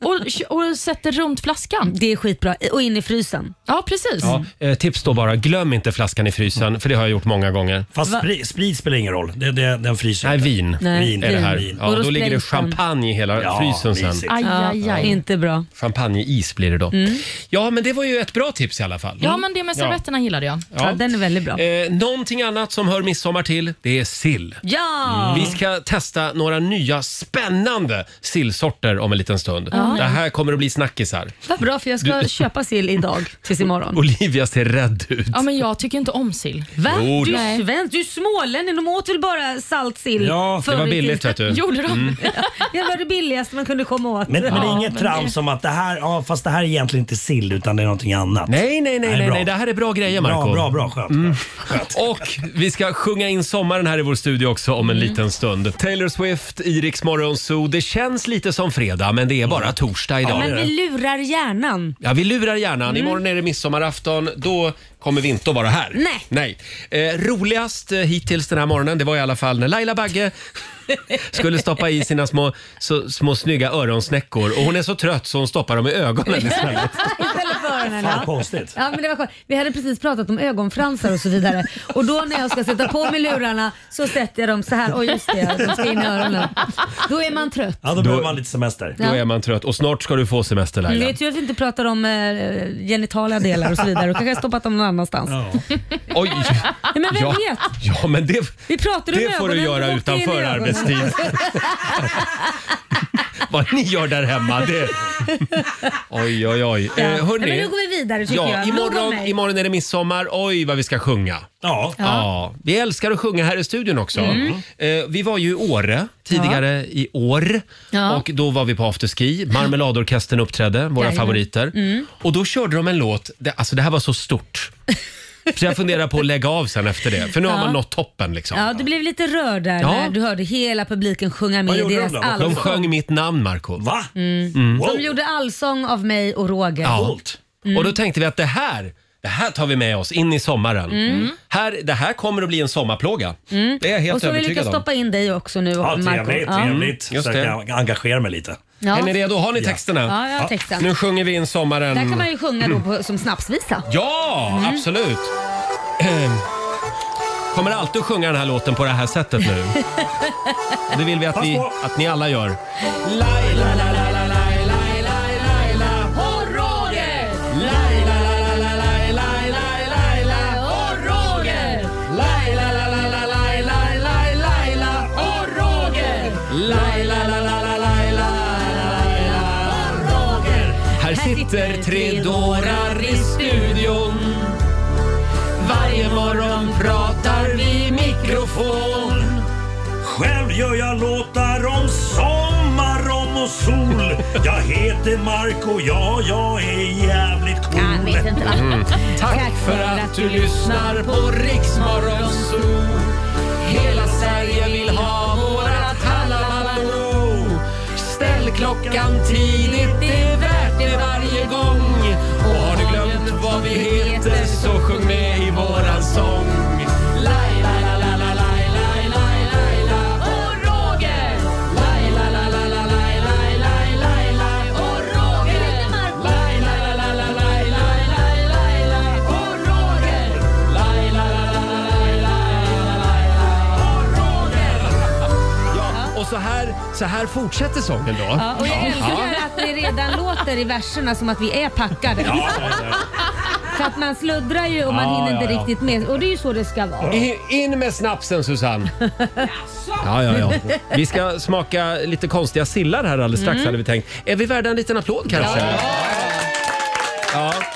ja, och, och sätter runt flaskan.
Det är skitbra. I- Och in i frysen.
Ja, precis.
Ja, eh, tips då bara, glöm inte flaskan i frysen, för det har jag gjort många gånger.
Fast sprit, sprit spelar ingen roll. Det, det, den fryser
Nej,
inte.
vin.
Nej,
Vin
är det här.
Vin.
Ja,
Och då
då ligger det
sprängs den.
champagne i hela frysen sen.
mysigt.
Aj,
Ja,
aj, aj.
Inte bra.
Champagneis blir det då.
Mm.
Ja, men det var ju ett bra tips i alla fall.
Ja, men det med servetterna gillade jag.
Ja. den är väldigt bra.
Eh, någonting annat som hör midsommar till, det är sill.
Ja!
Vi ska testa några nya spännande sillsorter om en liten stund. Det här kommer att bli snackisar.
Vad bra för jag ska köpa sill idag tills imorgon.
Olivia ser rädd ut.
Ja, men jag tycker inte om sill.
Va?
Jo,
Du
då.
är svensk, du är smålänning. De åt väl bara salt sill
Ja, det
Det
förr
var
i
billigt
tiden.
vet du. Mm.
Gjorde de?
Det var det billigaste man kunde komma åt.
Men, men det är inget
men
trams som att det här, ja, fast det här är egentligen inte sill utan det är någonting annat.
Nej, nej, nej,
Nej,
nej,
bra.
nej. Det här är bra grejer
Bra,
Marco. Mm.
bra, bra. Skönt. Skönt.
Och vi ska sjunga in sommaren här i vår studio också om
Mm.
en liten stund. Taylor Swift, Iriks morgonzoo. Det känns lite som fredag, men det är bara torsdag idag.
Men vi Mm. lurar hjärnan.
Ja, vi lurar hjärnan. Imorgon är det midsommarafton. Då kommer vi inte att vara här.
Nej.
Nej. Eh, roligast eh, hittills den här morgonen, det var i alla fall när Laila Bagge skulle stoppa i sina små, så, små snygga öronsnäckor. Och hon är så trött så hon stoppar dem i ögonen istället.
Istället för öronen.
Fan,
ja.
konstigt.
Ja, men det var skönt. Vi hade precis pratat om ögonfransar och så vidare. Och då när jag ska sätta på mig lurarna så sätter jag dem så här. Och just det, de ska in i öronen. Då är man trött.
Ja, då behöver man lite semester.
Då är man trött. Och snart ska du få semester
Vi
Laila.
vet ju att vi inte pratar om eh, genitala delar och så vidare. Och kanske har stoppat dem någon annanstans.
Ja.
Oj!
Nej, men vem
Ja,
vet?
ja, men det...
Vi pratar om
Det får du
ögonen, de
göra
åker in i
utanför
ögonen.
arbetstid. vad ni gör där hemma. Det... Oj, oj, oj. Eh,
Ja,
hörni,
men nu går vi vidare tycker
ja,
jag. Nog om
imorgon,
mig.
imorgon är det midsommar. Oj, vad vi ska sjunga.
Ja.
Ja. vi älskar att sjunga här i studion också.
Mm.
Eh, vi var ju i Åre tidigare i år
Ja.
och då var vi på afterski. Marmeladorkestern uppträdde, våra
Jajamän. Mm.
favoriter. Och då körde de en låt, det, alltså det här var så stort. Så jag funderar på att lägga av sen efter det, för nu har
Ja.
man nått toppen liksom.
Ja, du blev lite rörd där
Ja.
när du hörde hela publiken sjunga med i
gjorde de
deras
då? Vad
De
allsång.
sjöng mitt namn, Marco. Mm.
Va?
Mm. De gjorde allsång av mig och Roger.
Ja.
Mm.
Och då tänkte vi att det här, det här tar vi med oss in i sommaren.
Mm.
Mm. Här, det här kommer att bli en sommarplåga. Det är jag helt
Och så har vi lyckats
övertygad om.
stoppa in dig också nu
Ja,
Marco.
trevligt.
Ja.
trevligt.
Just
Så
det.
jag kan engagera mig lite.
Ja.
Är ni redo? Har ni texterna?
Ja, jag har texten.
Nu sjunger vi in sommaren.
Där kan man ju sjunga då Mm. på, som snapsvisa.
Ja, absolut. Ehm, Kommer alltid att sjunga den här låten på det här sättet nu. Det vill vi att, vi,
på.
att ni alla gör. Laila, la, la, la, lai, lai, lai, Laila, och Roger! Laila, la, la, la, lai, lai, lai, Laila, och Roger! Laila, la, la, la, lai, lai, lai, Laila, och Roger! Laila, la, la, la, lai, lai, Laila, och Roger! Här sitter tre dårar i studion Varje morgon pratar vi mikrofon
Själv gör jag låtar om sommar, om och sol. Jag heter Marco, ja, jag är jävligt
Jag vet
cool. Mm.
inte vad.
Mm. Tack för att du lyssnar på Riksmorgonzoo Hela Sverige vill ha vårat Hallabaloo Ställ klockan tidigt, det är värt det varje gång Och har du glömt vad vi heter så sjung med i våran sång Laila, la, la, la, lai, lai, lai, Laila och Roger Laila, la, la, la, lai, lai, lai, Laila och Roger Laila, la, la, la, lai, lai, lai, Laila och Roger Laila, la, la, la, lai, lai, Laila och Roger Ja, och så här, så här fortsätter sången då.
Ja, och jag älskar att det redan låter i verserna som att vi är packade.
Ja, ja, ja.
För att man sluddrar ju och man
Ja,
hinner
ja,
inte
ja.
riktigt med. Och det är ju så det ska vara.
I- In med snapsen Susanne! Ja, ja, ja. Vi ska smaka lite konstiga sillar här alldeles
Mm.
strax hade vi tänkt. Är vi värda en liten applåd kanske? Ja.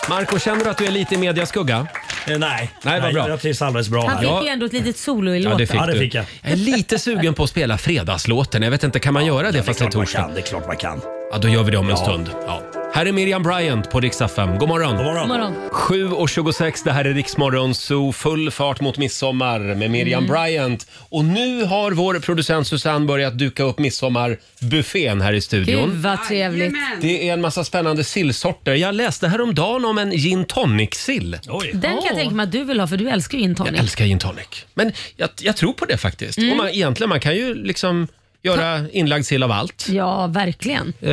Marco, känner du att du är lite i mediaskugga?
Eh, Nej,
vad bra.
jag trivs alldeles bra
Han
här.
fick
Ja.
ju ändå ett litet solo i
Ja,
låten.
det fick,
Ja, det
du.
fick jag.
är lite sugen på att spela fredagslåten. Jag vet inte, kan man göra det fast det är
klart man
torsdag?
kan, det är klart man kan.
Ja, då gör vi det om en
Ja.
stund. Ja. Här är Miriam Bryant på Rix FM. God morgon!
God morgon.
Morgon.
7.26, det här är Riksmorgon Zoo, full fart mot midsommar med Miriam
Mm.
Bryant. Och nu har vår producent Susanne börjat duka upp midsommarbuffén här i studion.
Gud vad trevligt.
Jajamän.
Det är en massa spännande sillsorter. Jag läste häromdagen om en gin tonic-sill.
Oj.
Den kan jag tänka mig att du vill ha för du älskar ju gin
Jag
tonic.
älskar gin tonic. Men jag, jag tror på det faktiskt.
Mm.
Och man, egentligen, man kan ju liksom göra inlagd sill av allt.
Ja, verkligen.
Eh,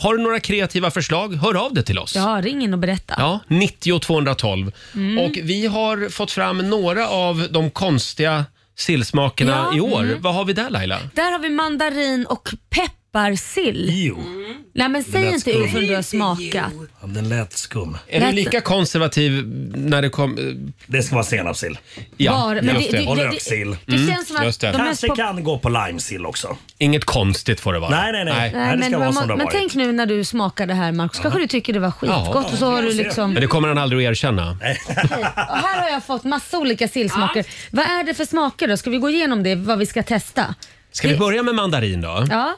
har du några kreativa förslag, hör av dig till oss.
Ja, Mm. ring in och berätta.
Ja, 90 212. Och vi har fått fram några av de konstiga sillsmakerna
Ja, mm.
i år. Vad har vi där Laila?
Där har vi mandarin och pepparsill.
Jo,
Nej men säg inte
skum.
ur förrän du har smakat.
ja, den lät skum.
Är
Lät-
du lika konservativ när det kommer...
Det ska vara senapssill.
Ja,
Bara- men
just det. Mm,
det-
Och
det-
löksill.
Det känns som
just
att
det.
de mest
Kanske
pop-
kan gå på limesill också.
Inget konstigt får det vara.
Nej, nej, nej.
Nej.
Nej, det
men
ska vara
man-
som det har
men
varit.
tänk nu när du smakar det här Marcus, kanske du tycker det var skitgott
Ja.
och så har du liksom...
Men det kommer han aldrig att erkänna.
Och här har jag fått massa olika sillsmaker. Vad är det för smaker då? Ska vi gå igenom det, vad vi ska testa?
Ska vi börja med mandarin då?
Ja,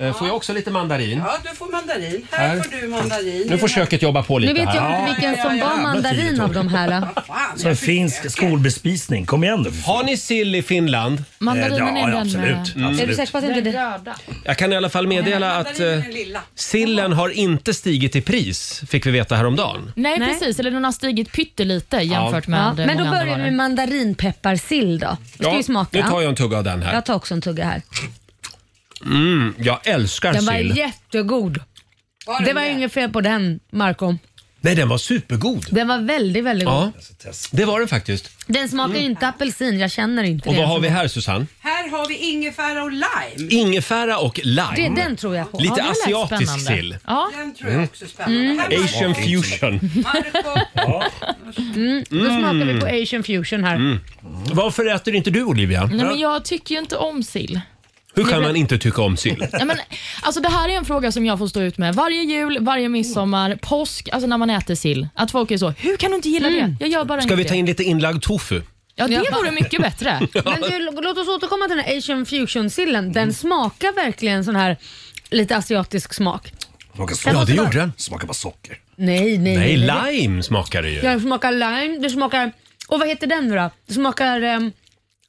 Eh, Får jag också lite mandarin?
Ja, du får mandarin. Här,
Här.
får du mandarin.
Nu får köket jobba på
nu
lite
vet
här.
jag inte vilken som var mandarin av de här. då.
Fan,
Så en finsk skolbespisning. Kom igen nu.
Har ni sill i Finland?
Eh,
Mandarinen är
ja, ja,
den
Mm.
absolut.
med...
Är du
absolut.
säker på att inte det...
Röda.
Jag kan i alla fall meddela att
mandarinen
eh,
är lilla.
sillen har inte stigit i pris, fick vi veta häromdagen.
Nej,
Nej.
precis, eller den har stigit pyttelite jämfört
Ja,
med
men
många
då
andra
börjar vi
varor.
med mandarinpepparsill då. Vi ska ju smaka.
nu tar jag en tugga av den här. Mm,
Jag tar också en tugga här.
Jag älskar
Den var
sill.
jättegod. Det var inget fel på den Marco.
Nej, den var supergod.
Den var väldigt, väldigt god.
Ja, det var den faktiskt.
Den smakar ju inte apelsin, jag känner inte
Och
det.
vad har vi här Susanne?
Här har vi ingefära och lime.
Ingefära och
det
lime.
den tror jag på.
Lite
det lät
asiatisk
spännande.
sill. Mm.
Ja,
Den tror jag också är
Mm.
spännande. Här har
Asian fusion.
vi Marco.
Mm, Då
Mm.
smakar vi på asian fusion här.
Varför Mm. äter inte du Olivia?
nej, men jag tycker ju inte om sill.
Hur kan
Nej, men-
man inte tycka om sill?
Ja, men, alltså, det här är en fråga som jag får stå ut med varje jul, varje midsommar, påsk, alltså när man äter sill. Att folk är så, hur kan du inte gilla
Mm.
det? Jag gör bara
Ska
inte
vi ta
det."
in lite inlagd tofu?
Ja, det vore mycket bättre.
Men du, lå- låt oss återkomma till den här asian fusion-sillen. Den smakar verkligen sån här lite asiatisk smak.
Smakar
socker.
Ja, det gjorde den.
Smakar bara socker.
Nej, nej.
Nej, lime smakar det ju.
Ja, det smakar lime, det smakar... Och vad heter den nu då? Det smakar... ehm,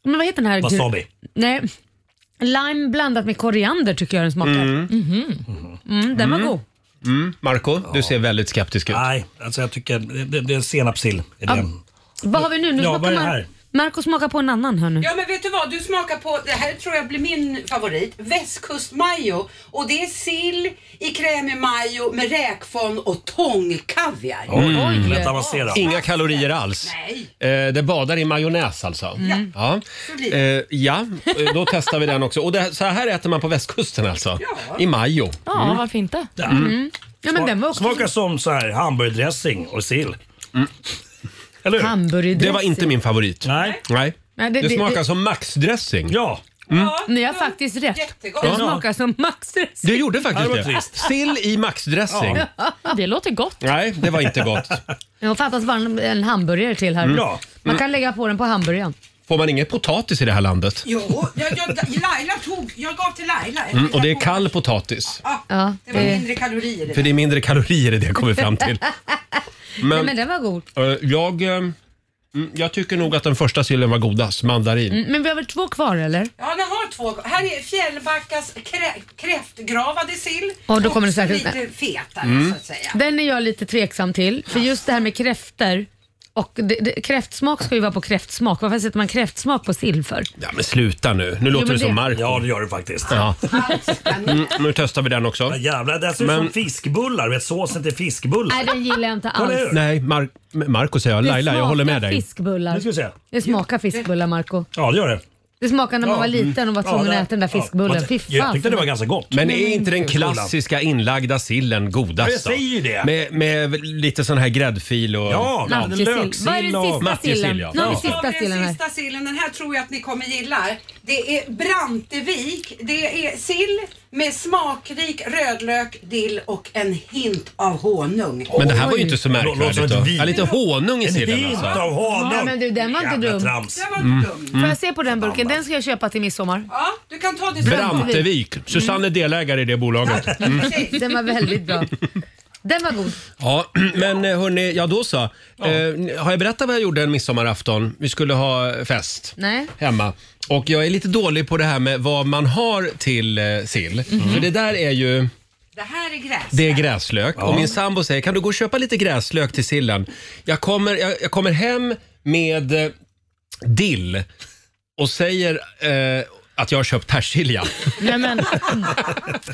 men vad heter den här?
Wasabi.
Mm.
Nej. Lime blandat med koriander tycker jag den smakar.
Mm.
Mm. den var
Mm.
god.
Mm. Marco, du ser väldigt skeptisk ut.
Nej, alltså jag tycker det, det, det är senapssill. Är det.
Ja. Vad har vi nu? nu
Ja,
smakar
vad är det
Mar-
här?
Marco smakar på en annan här nu.
Ja men vet du vad, du smakar på, det här tror jag blir min favorit, västkustmajo. Och det är sill i krämig majo med räkfond och tångkaviar. Mm.
Mm. Inga kalorier alls. Eh, det badar i majonnäs alltså.
Mm.
Ja. Eh, ja, eh, då testar vi den också. Och det, så här äter man på västkusten alltså. I majo.
Ja,
Mm.
varför inte?
Mm.
Ja, men den var också...
Smakar som så här hamburgardressing och sill. Eller hur?
Hamburgardressing.
Mm. Det var inte min favorit.
Nej.
Nej.
Nej,
det,
det- det-
smakar
det-
som maxdressing.
Ja.
Mm.
Ni har faktiskt rätt. Den
Ja.
smakar som Max
Det gjorde faktiskt
Ja, det var
det.
trist.
Sill i maxdressing.
Det låter gott.
Nej, det var inte gott.
Det fattas bara en- en hamburgare till här.
Mm. Ja.
Man
Mm.
kan lägga på den på hamburgaren.
Får man ingen potatis i det här landet?
Jo, jag, jag, Laila tog, jag gav till Laila.
Mm, och det är kall potatis.
Ja, det var
det-
mindre kalorier i det.
För det är mindre kalorier i det kommer vi fram till. Men-
Nej, men den var god.
Eh, Jag, eh, mm, jag tycker nog att den första sillen var godast, mandarin.
Mm, Men vi har väl två kvar eller?
Ja, ni har två. Här är Fjällbackas krä, kräftgravade sill.
Ja, då kommer det säkert-
Lite fetare
Mm.
så att säga.
Den är jag lite tveksam till. För just det här med kräfter och det, det, kräftsmak ska ju vara på kräftsmak. Varför sätter man kräftsmak på sill för?
Ja, men sluta nu. Nu låter
men
det som
det-
Marco.
Ja, det gör det faktiskt.
Ja. Mm, nu testar vi den också. Ja,
jävlar, den ser ut som fiskbullar. Vet, såsen till fiskbullar.
Nej, den gillar jag inte alls.
Nej, Mar- Marco säger jag.
Det
Laila, jag håller med
smakar
dig.
Fiskbullar.
Nu ska vi se.
Det smakar fiskbullar Marco.
Ja, det gör det.
Det smakar när man
Ja,
var liten och var
mm.
tvungen
Ja,
att äta den där
ja.
fiskbullen.
Jag
Fy
tyckte- jag
fan.
tyckte det var ganska gott.
Men
Nej,
är inte den
men gud.
klassiska inlagda sillen godast?
Ja, jag säger ju
då?
det.
Med, med lite sån här gräddfil och...
Ja, men Matjessill. löksill Vad är den och- sista
Matjessill, ja.
sillen? Nu har vi
Ja.
sista
Kommer
sillen
den
här.
sista sillen. Den här tror jag att ni kommer gilla. Det är Brantevik. Det är sill med smakrik rödlök, dill och en hint av honung.
Men det här var ju inte så
Låter som
märkvärdigt.
ett
då.
vin.
Ja, lite honung i
En
sillen
hint
alltså.
av honung.
Ja, men du, den var inte
Jävla
dum.
trams.
Mm.
Får
Mm.
jag se på den burken? Den ska jag köpa till midsommar.
Ja, du kan ta det
Brantevik. Susanne är delägare i det bolaget. Mm.
Den var väldigt bra. Den var god.
Ja, men eh, hörni, ja då så. Eh, ni- har jag berättat vad jag gjorde en midsommarafton? Vi skulle ha eh, fest
Nej.
hemma. Och jag är lite dålig på det här med vad man har till eh, sill. För det där är ju...
Det här är gräs.
Det är gräslök.
Ja.
Och min sambo säger, kan du gå och köpa lite gräslök till sillen? Jag kommer, jag, jag kommer hem med eh, dill och säger eh, att jag har köpt persilja.
Nej, men,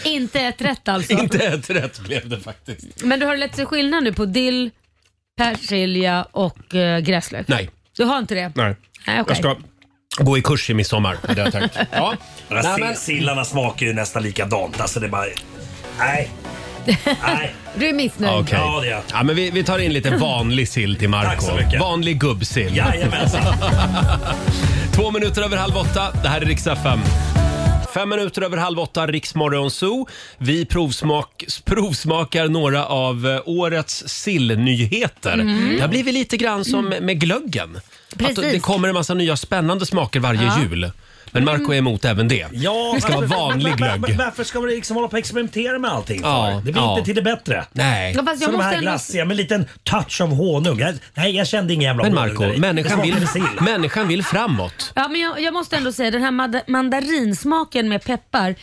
inte ett rätt alltså.
Inte ett rätt blev det faktiskt.
Men du har lätt sig skillnad nu på dill, persilja och eh, gräslök?
Nej.
Du har inte det?
Nej.
Nej, okej.
Jag ska gå i kurs i midsommar, hade jag tänkt. Ja.
Den här
Nej,
si-
men-
Sillarna smakar ju nästan likadant. Alltså det är bara... Nej.
Du är missnöjd?
Ah, Okej. Ja, men vi, vi tar in lite vanlig sill till Marco.
Tack så mycket.
Vanlig gubbsill.
Jajamensan.
Två minuter över halv åtta. Det här är riksdag 5. Fem minuter över halv åtta, Riksmorgon Zoo. Vi provsmak, provsmakar några av eh, årets sillnyheter.
Mm.
Det har blivit lite grann som med glöggen. Att
Precis.
det kommer en massa nya spännande smaker varje
Ja.
jul. Men Marco är emot även det. det ska vara
varför-
vanlig
var- var-
glögg.
Varför ska man liksom hålla på och experimentera med allting? för?
Ja,
det blir
ja.
inte till det bättre.
Nej. Ja,
Som
fast jag
de
måste
här
ändå-
glassiga med en liten touch av honung. Jag, nej, jag kände ingen jävla
Men
honung.
Marco,
där i.
människan
Det
vill,
smakade sill.
människan vill framåt.
Ja, men jag, jag måste ändå säga den här mad- mandarinsmaken med peppar.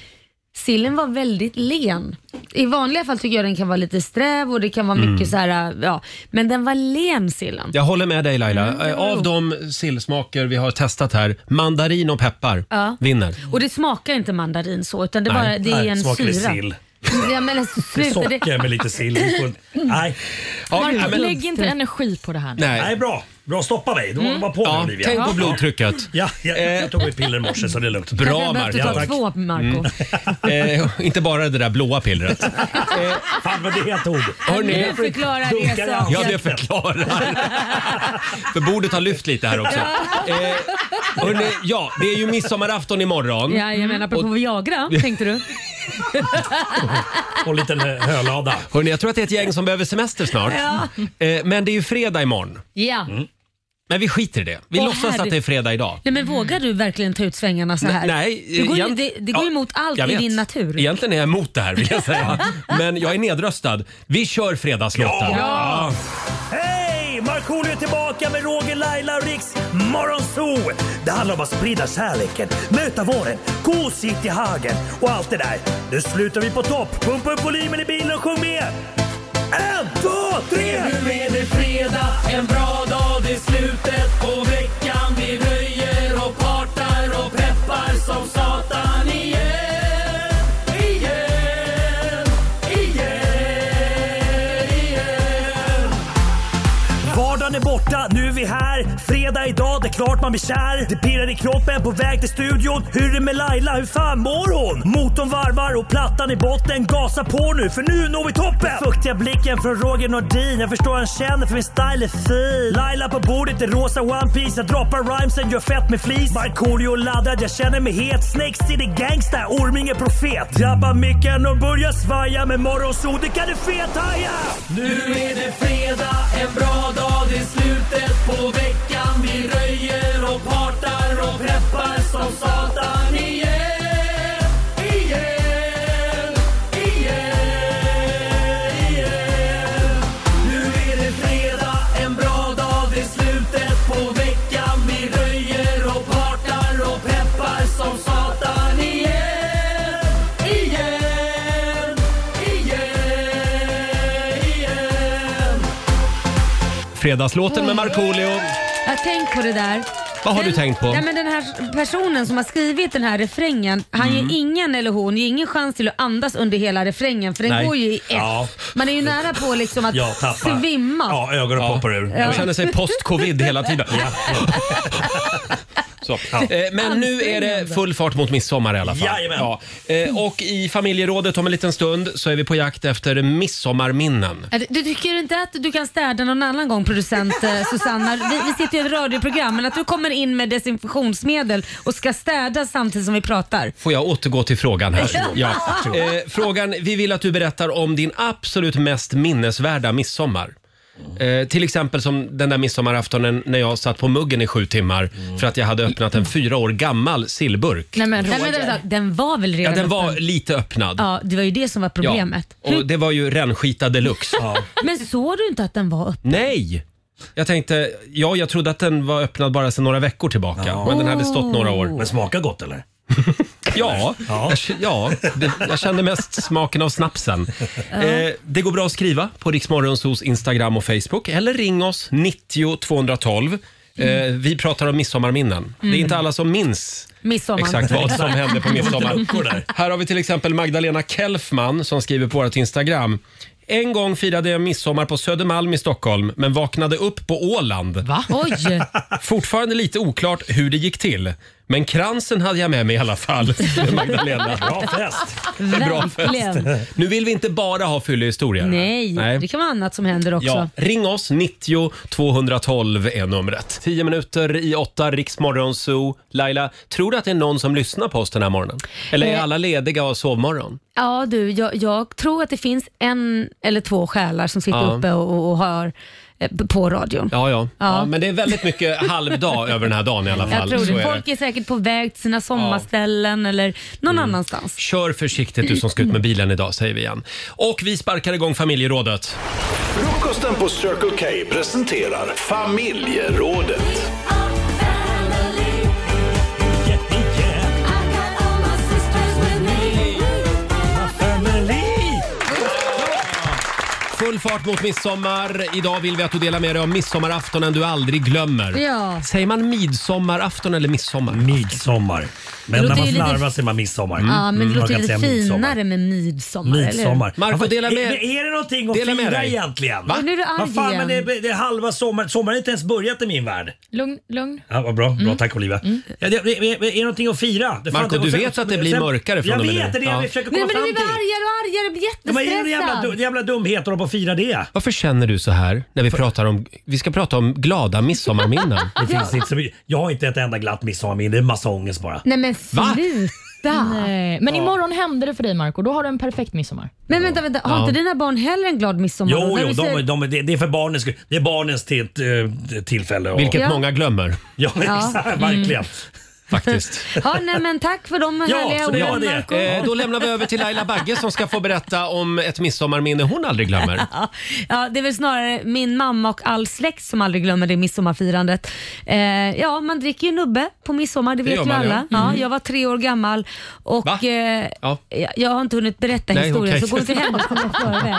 Sillen var väldigt len. I vanliga fall tycker jag den kan vara lite sträv och det kan vara
Mm.
mycket så här, äh, ja. Men den var len sillen.
Jag håller med dig Laila. Eh, Av de sillsmaker vi har testat här, mandarin och peppar
Ja.
vinner.
Och det smakar inte mandarin så utan det,
Nej.
bara, det är
Nej,
en
smakar det
syra.
sill.
Ja, men alltså,
Det är
sluta. det-
socker med lite sill. Vi får- Nej.
Marco, lägg inte energi på det här nu.
Nej.
Nej, bra. Bra, stoppa mig. Du var
Mm.
bara på
Ja,
mig Olivia.
tänk på blodtrycket. Eh.
Ja, jag, jag tog mitt piller i morse så det är lugnt.
Bra, Kanske jag behövde Marco. ta
tack.
två, Marco.
Mm. Eh, inte bara det där blåa pillret.
Fan vad det jag tog.
Hörni,
Nu förklarar det
Dunkar i
saken.
ja det förklarar. För bordet har lyft lite här också. Eh, Hörrni, ja, det är ju midsommarafton imorgon. Mm.
Ja, jag menar på Viagra, tänkte du?
Och en liten hölada. Hörrni, jag tror att det är ett gäng som behöver semester snart.
Ja.
Eh, Men det är ju fredag imorgon.
Ja.
Mm. Men vi skiter i det. Vi
Åh,
låtsas att
herregud.
det är fredag idag.
Nej, men vågar du verkligen ta ut svängarna så här?
Nej,
det går, ju,
egent-
det, det går ju
ja,
emot allt
jag
i
vet.
din natur.
Egentligen är jag emot det här vill jag säga. Men jag är nedröstad. Vi kör fredagslåten.
Ja! Hej! Markoolio är tillbaka med Roger, Laila och Riks Morgonzoo! Det handlar om att sprida kärleken, möta våren, gosigt i hagen och allt det där. Nu slutar vi på topp! Pumpa upp volymen i bilen och sjung med! En, två, tre!
Nu är det fredag, en bra dag, det är slutet på veckan. Vi röjer och partar och peppar som satan igen. Igen, igen, igen.
Vardagen är borta, nu är vi här. Fredag idag, det är klart man blir kär. Det pirrar i kroppen, på väg till studion. Hur är det med Laila, hur fan mår hon? Motorn varvar och plattan i botten. Gasa på nu, för nu når vi toppen! Den fuktiga blicken från Roger Nordin. Jag förstår han känner, för min style är fin. Laila på bordet i rosa One Piece Jag droppar rhymesen, gör fett med flis. Markoolio laddad, jag känner mig het. Snake City Gangsta, Orming är profet. Drabbar micken och börjar svaja. Med morgonsol, det kan du fethaja!
Nu är det fredag, en bra dag, det är slutet på veckan. Vi röjer och partar och peppar som satan igen. Igen, igen, igen. Nu är det fredag, en bra dag, det är slutet på veckan. Vi röjer och partar och peppar som satan igen. Igen, igen, igen.
Fredagslåten med Markoolio.
Jag har tänkt på det där.
Vad har du tänkt på?
Nej, men den här personen som har skrivit den här refrängen, han
Mm.
ger ingen eller hon ger ingen chans till att andas under hela refrängen för den
Nej.
går ju i F.
Ja.
Man är ju nära på liksom att
Jag tappar.
svimma.
ögonen
poppar ur.
Ja.
Jag känner sig post-covid hela tiden. Så. Eh, Men nu är det full fart mot midsommar i alla fall.
Jajamän.
Eh, Och i familjerådet om en liten stund så är vi på jakt efter midsommarminnen.
Ja, Du, du tycker inte att du kan städa någon annan gång producent eh, Susanna? Vi, vi sitter ju i ett radioprogram men att du kommer in med desinfektionsmedel och ska städa samtidigt som vi pratar.
Får jag återgå till frågan här?
Varsågod.
Ja.
Varsågod.
Eh, frågan, vi vill att du berättar om din absolut mest minnesvärda midsommar. Eh, till exempel som den där midsommaraftonen när jag satt på muggen i sju timmar för att jag hade öppnat en fyra år gammal sillburk.
Nej men,
Roger.
den, den var väl
Ja,
redan
den var
öppen?
lite öppnad.
Ja, det var ju det som var problemet.
Ja, och det var ju rännskita deluxe.
Men såg du inte att den var öppen?
Nej! Jag tänkte, ja jag trodde att den var öppnad bara sedan några veckor tillbaka. Men den hade stått några år. Men
smakar gott eller?
ja, ja. Jag, ja det, jag kände mest smaken av snapsen.
Ja.
Eh, det går bra att skriva på Riksmorgonsos Instagram och Facebook. Eller ring oss 90 212. Eh, vi pratar om midsommarminnen.
Mm.
Det är inte alla som minns
Midsommar.
Exakt vad som hände på
Luckor
midsommar.
där.
Här har vi till exempel Magdalena Kelfman som skriver på vårt Instagram. En gång firade jag midsommar på Södermalm i Stockholm men vaknade upp på Åland. Va?
Oj!
Fortfarande lite oklart hur det gick till. Men kransen hade jag med mig i alla fall, skriver Magdalena.
Bra fest!
En bra
Verkligen.
fest. Nu vill vi inte bara ha fyllehistorier.
Nej, det kan vara annat som händer också.
Ja, ring oss, 90 212 är numret. 10 minuter i 8, Riksmorgon Zoo. Laila, tror du att det är någon som lyssnar på oss den här morgonen? Eller är
Eh.
alla lediga och sovmorgon?
Ja du, jag, jag tror att det finns en eller två själar som sitter
Ja.
uppe och, och hör eh, på radion.
Ja, ja, ja.
Ja.
men det är väldigt mycket halvdag över den här dagen i alla fall.
Jag tror
Så
det.
är
Folk är säkert på väg till sina sommarställen eller någon
Mm.
annanstans.
Kör försiktigt du som ska ut med bilen idag, säger vi igen. Och vi sparkar igång familjerådet.
Frukosten på Circle K presenterar familjerådet.
Full fart mot midsommar. Idag vill vi att du delar med dig av midsommaraftonen du aldrig glömmer.
Ja.
Säger man midsommarafton eller midsommar?
Midsommar. Men när
Det låter
man
ju lite-
slarvar säger man midsommar.
Mm.
ja, men det låter ju
Man kan
lite
säga midsommar.
finare med midsommar. eller hur?
Midsommar.
Marco, dela med-
är, är det någonting att
dela med
fira
dig.
egentligen?
Va?
Nu är du arg
Vad fan, men
igen.
det, är, det är halva sommaren. Sommaren har inte ens börjat i min värld.
Lugn, lugn.
Ja, vad bra.
Mm.
Bra, tack Olivia. Ja, det, det, det, är det någonting att fira? Det
Marco,
fan,
du
sen-
vet att det blir mörkare från
jag
och med
Jag
nu.
vet, det är det
Ja.
jag försöker
Nej
komma
men du
fram
blir
till.
argare och argare, jag blir
Ja, men är det jävla,
jättestressad.
du- jävla dumhet att hålla på och fira gillar det.
Varför känner du så här när vi pratar om... Vi ska prata om glada midsommarminnen.
Det finns inte så mycket. Jag har inte ett enda glatt midsommarminne. Det är massa ångest bara.
Nej men
Va?
sluta!
Nej. Men imorgon händer det för dig Marco Då har du en perfekt midsommar.
Men vänta, vänta. Har
Ja.
inte dina barn heller en glad midsommar? då?
Jo,
När
jo
du
de,
säger-
de, det- det är för barnens skull. Det är barnens till, eh, tillfälle. Och...
Vilket Ja. många
glömmer.
Ja,
Ja.
exakt, verkligen.
Mm. Ja, nej, men tack för de härliga orden Marco.
Eh, då lämnar vi över till Laila Bagge som ska få berätta om ett midsommarminne hon aldrig glömmer.
ja, det är väl snarare min mamma och all släkt som aldrig glömmer det midsommarfirandet. Eh, ja, man dricker ju nubbe på midsommar, det
Det
vet
gör
ju
man, ja.
alla. Ja,
Mm.
jag var tre år gammal och eh,
Ja.
jag, jag har inte hunnit berätta
Nej,
historien
okej.
så gå inte händelserna i förväg.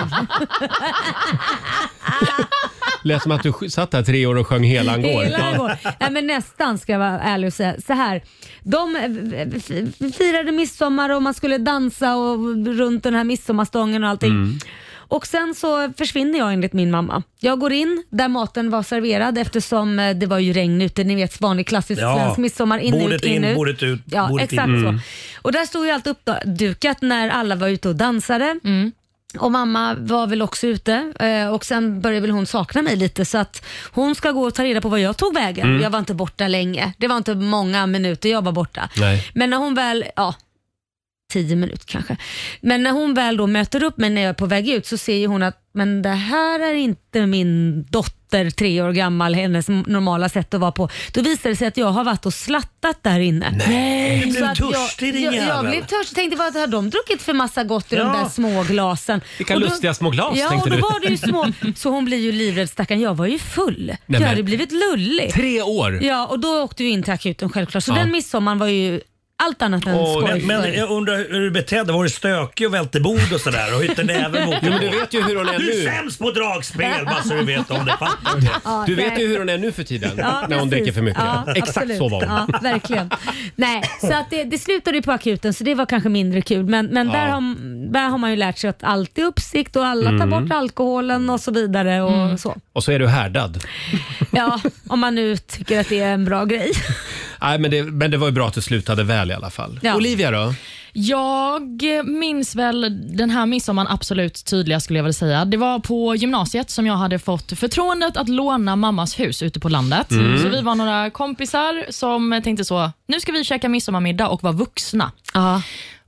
Lät som att du sk- satt där tre år och sjöng Helan går.
Hela går. Nej, men nästan ska jag vara ärlig och säga. Så här, de eh, f- firade midsommar och man skulle dansa och runt den här midsommarstången och allting.
Mm.
Och sen så försvinner jag enligt min mamma. Jag går in där maten var serverad eftersom eh, det var ju regn ute. Ni vet vanlig klassisk
Ja.
svensk midsommar. In,
Bordet
ut, in,
in,
ut.
bordet ut,
Ja,
bordet
exakt
in.
så.
Mm.
Och där stod ju allt uppdukat när alla var ute och dansade. Och mamma var väl också ute eh, och sen började väl hon sakna mig lite så att hon ska gå och ta reda på var jag tog vägen.
Mm.
Jag var inte borta länge. Det var inte många minuter jag var borta.
Nej.
Men när hon väl, ja, tio minuter kanske. Men när hon väl då möter upp mig när jag är på väg ut så ser ju hon att men det här är inte min dotter, tre år gammal, hennes normala sätt att vara på. Då visar det sig att jag har varit och slattat där inne.
Nej. Du blev
Så att jag-
törstig, din
jag, jag
jävel.
blev törstig tänkte vad har de druckit för massa gott i de
Ja.
där små glasen?
Vilka
Och då-
lustiga små glas,
ja,
tänkte
och då
du.
Var det ju små, så hon blir ju livrädd stackarn. Jag var ju full. jag
men-
hade blivit lullig.
Tre år?
Ja, och då åkte vi in till akuten självklart. Så
Ja.
den midsommaren var ju allt annat än
Och,
skoj.
men, men
för-
jag undrar hur du betedde dig. Var du stökig och välte bord och sådär? Och hytte näven mot
Jo, men du vet ju hur hon är
Du
nu.
är sämst på dragspel, bara så du vet om det. Fattar
Ja,
Du vet
nej.
ju hur hon är nu för tiden.
Ja,
när hon
precis.
dricker för mycket.
Ja,
Exakt
absolut.
så var hon.
Ja, verkligen. Nej, så att det, det slutade ju på akuten så det var kanske mindre kul. Men, men
Ja.
där, har, där har man ju lärt sig att allt är uppsikt och alla tar
Mm.
bort alkoholen och så vidare. Och så.
Och så är du härdad.
Ja, om man nu tycker att det är en bra grej.
Nej, men, det, men det var ju bra att du slutade väl i alla fall.
Ja.
Olivia då?
Jag minns väl den här midsommaren absolut tydligast skulle jag vilja säga. Det var på gymnasiet som jag hade fått förtroendet att låna mammas hus ute på landet.
Mm.
Så vi var några kompisar som tänkte så, nu ska vi käka midsommarmiddag och vara vuxna.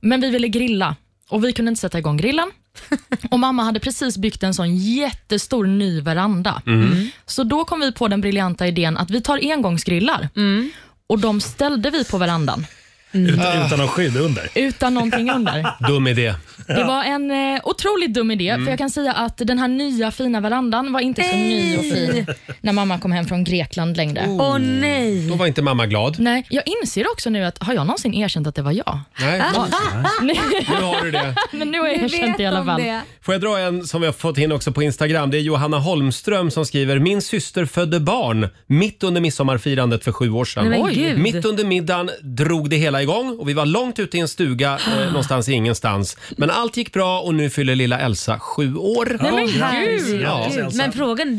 Men vi ville grilla och vi kunde inte sätta igång grillen. Och Mamma hade precis byggt en sån jättestor ny veranda.
Mm.
Så då kom vi på den briljanta idén att vi tar engångsgrillar och de ställde vi på verandan
du? Utan, utan någon skydd under.
utan någonting under.
Eh. Dum idé.
Det var en eh, otroligt dum idé,
Mm.
för jag kan säga att den här nya fina verandan var inte så ny och fin när mamma kom hem från Grekland längre.
Åh nej!
Då var inte mamma glad.
Nej, jag inser också nu att har jag någonsin erkänt att det var jag?
Nej.
Ja. Nej.
Nu har du det.
Men nu har jag
Nu
erkänt
vet
det i alla
de
fall.
det.
Får jag dra en som vi har fått in också på Instagram? Det är Johanna Holmström som skriver “Min syster födde barn mitt under midsommarfirandet för sju år sedan.
Nej, men gud.
Mitt under middagen drog det hela igång och vi var långt ute i en stuga eh, någonstans i ingenstans. Men allt gick bra och nu fyller lilla Elsa sju år.
Nej, men,
Ja.
herregud.
Ja.
men frågan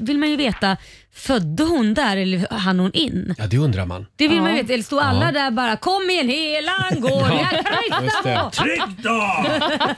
vill man ju veta, födde hon där eller hann hon in?
Ja, det undrar man.
Det vill
ja.
man ju veta. Eller stod alla
Ja.
där bara “Kom igen, hela går
Ja,
jag
just det.
kryssar på!”
Tryck då!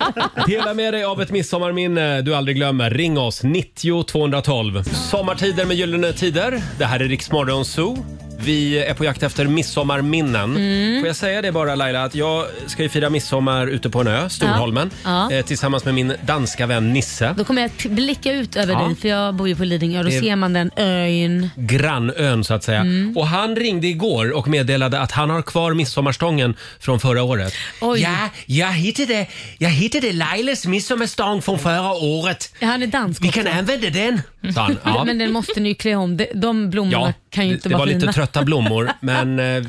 Dela med dig av ett midsommarminne du aldrig glömmer. Ring oss, 90 212. Sommartider med Gyllene Tider. Det här är Riksmorgon Zoo. Vi är på jakt efter midsommarminnen.
Mm.
Får jag säga det bara Laila, att jag ska ju fira midsommar ute på en ö, Storholmen,
Ja. Ja.
Eh, tillsammans med min danska vän Nisse.
Då kommer jag att blicka ut över
Ja.
dig för jag bor ju på Lidingö och då
Det-
ser man den ön.
Grannön så att säga.
Mm.
Och han ringde igår och meddelade att han har kvar midsommarstången från förra året. Ja, jag hittade, jag hittade Lailas midsommarstång från förra året.
Ja, han är dansk
Vi kan använda den, sa han. Ja.
Men den måste ni ju klä om. De, de blommorna Mm, kan ju
det-
inte
det
vara
var
fina.
lite trötta blommor, men eh, eh,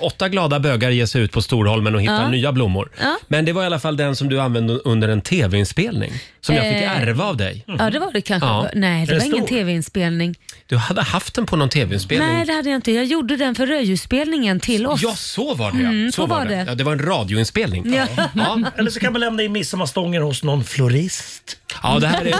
åtta glada bögar ger sig ut på Storholmen och hittar
Ja.
nya blommor.
Ja.
Men det var i alla fall den som du använde under en tv-inspelning som jag fick
Eh,
ärva av dig.
Ja det var det kanske.
Ja.
Nej det
Är
var
den
ingen
stor?
tv-inspelning.
Du hade haft den på någon tv-inspelning.
Nej det hade jag inte. Jag gjorde den för Rödljusspelningen till oss.
Ja, så var det ja.
Mm, så var det.
Ja, det var en radioinspelning. Ja.
Eller så kan man lämna in midsommarstången hos någon florist.
Ja, det här är,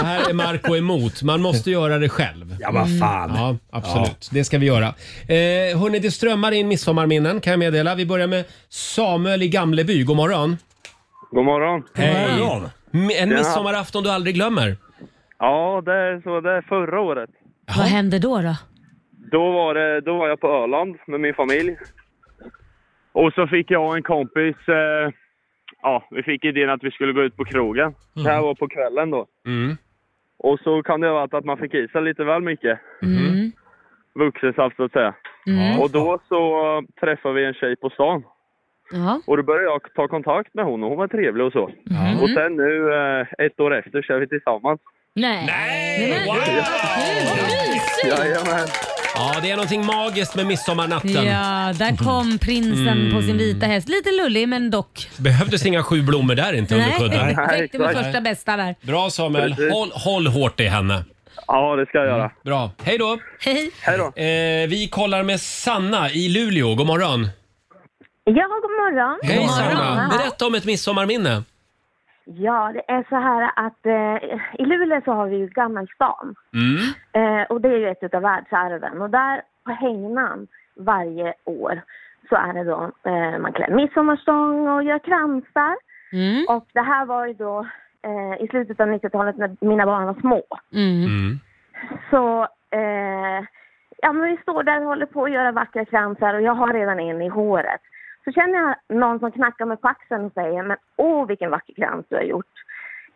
det här är Marco emot. Man måste göra det själv. Mm.
Ja, vad fan.
Ja, absolut. Det ska vi göra. Eh, hörni, det strömmar in midsommarminnen kan jag meddela. Vi börjar med Samuel i Gamleby. God morgon.
God morgon.
Hej. M- En
Tjena.
midsommarafton du aldrig glömmer.
Ja, det är så. Det är förra året.
Vad hände då? då?
Då var, det, då var jag på Öland med min familj. Och så fick jag och en kompis, eh, ja, vi fick idén att vi skulle gå ut på krogen.
Mm.
Det här var på kvällen då. Och så kan det ha varit att man fick i sig lite väl mycket.
Mm.
Vuxensaft så att säga.
Mm.
Och då så träffade vi en tjej på stan.
Ja.
Och då började jag ta kontakt med hon och hon var trevlig och så.
Mm.
Och sen nu, eh, ett år efter, så är vi tillsammans.
Nej!
Nej!
Wow!
Jajamän.
Ja, det är någonting magiskt med midsommarnatten.
Ja, där kom prinsen
Mm.
på sin vita häst. Lite lullig men dock.
Behövdes inga sju blommor där inte under
Nej,
kudden.
det räckte med första bästa där.
Bra Samuel,
Precis.
håll, håll hårt i henne. Mm.
Ja, det ska jag göra.
Bra, hej då.
Hej.
Hej då.
Eh, vi kollar med Sanna i Luleå, god morgon.
Ja, god morgon.
Hej Sanna,
här.
berätta om ett midsommarminne.
Ja, det är så här att eh, i Luleå så har vi ju Gammelstan.
Mm.
Eh, och det är ju ett av världsarven. Och där på hängnan varje år så är det då eh, man klär midsommarstång och gör kransar. Och det här var ju då eh, i slutet av 90-talet när mina barn var små.
Mm.
Mm.
Så eh, ja, men vi står där och håller på att göra vackra kransar och jag har redan en i håret. Så känner jag någon som knackar mig på axeln och säger men åh vilken vacker krans du har gjort.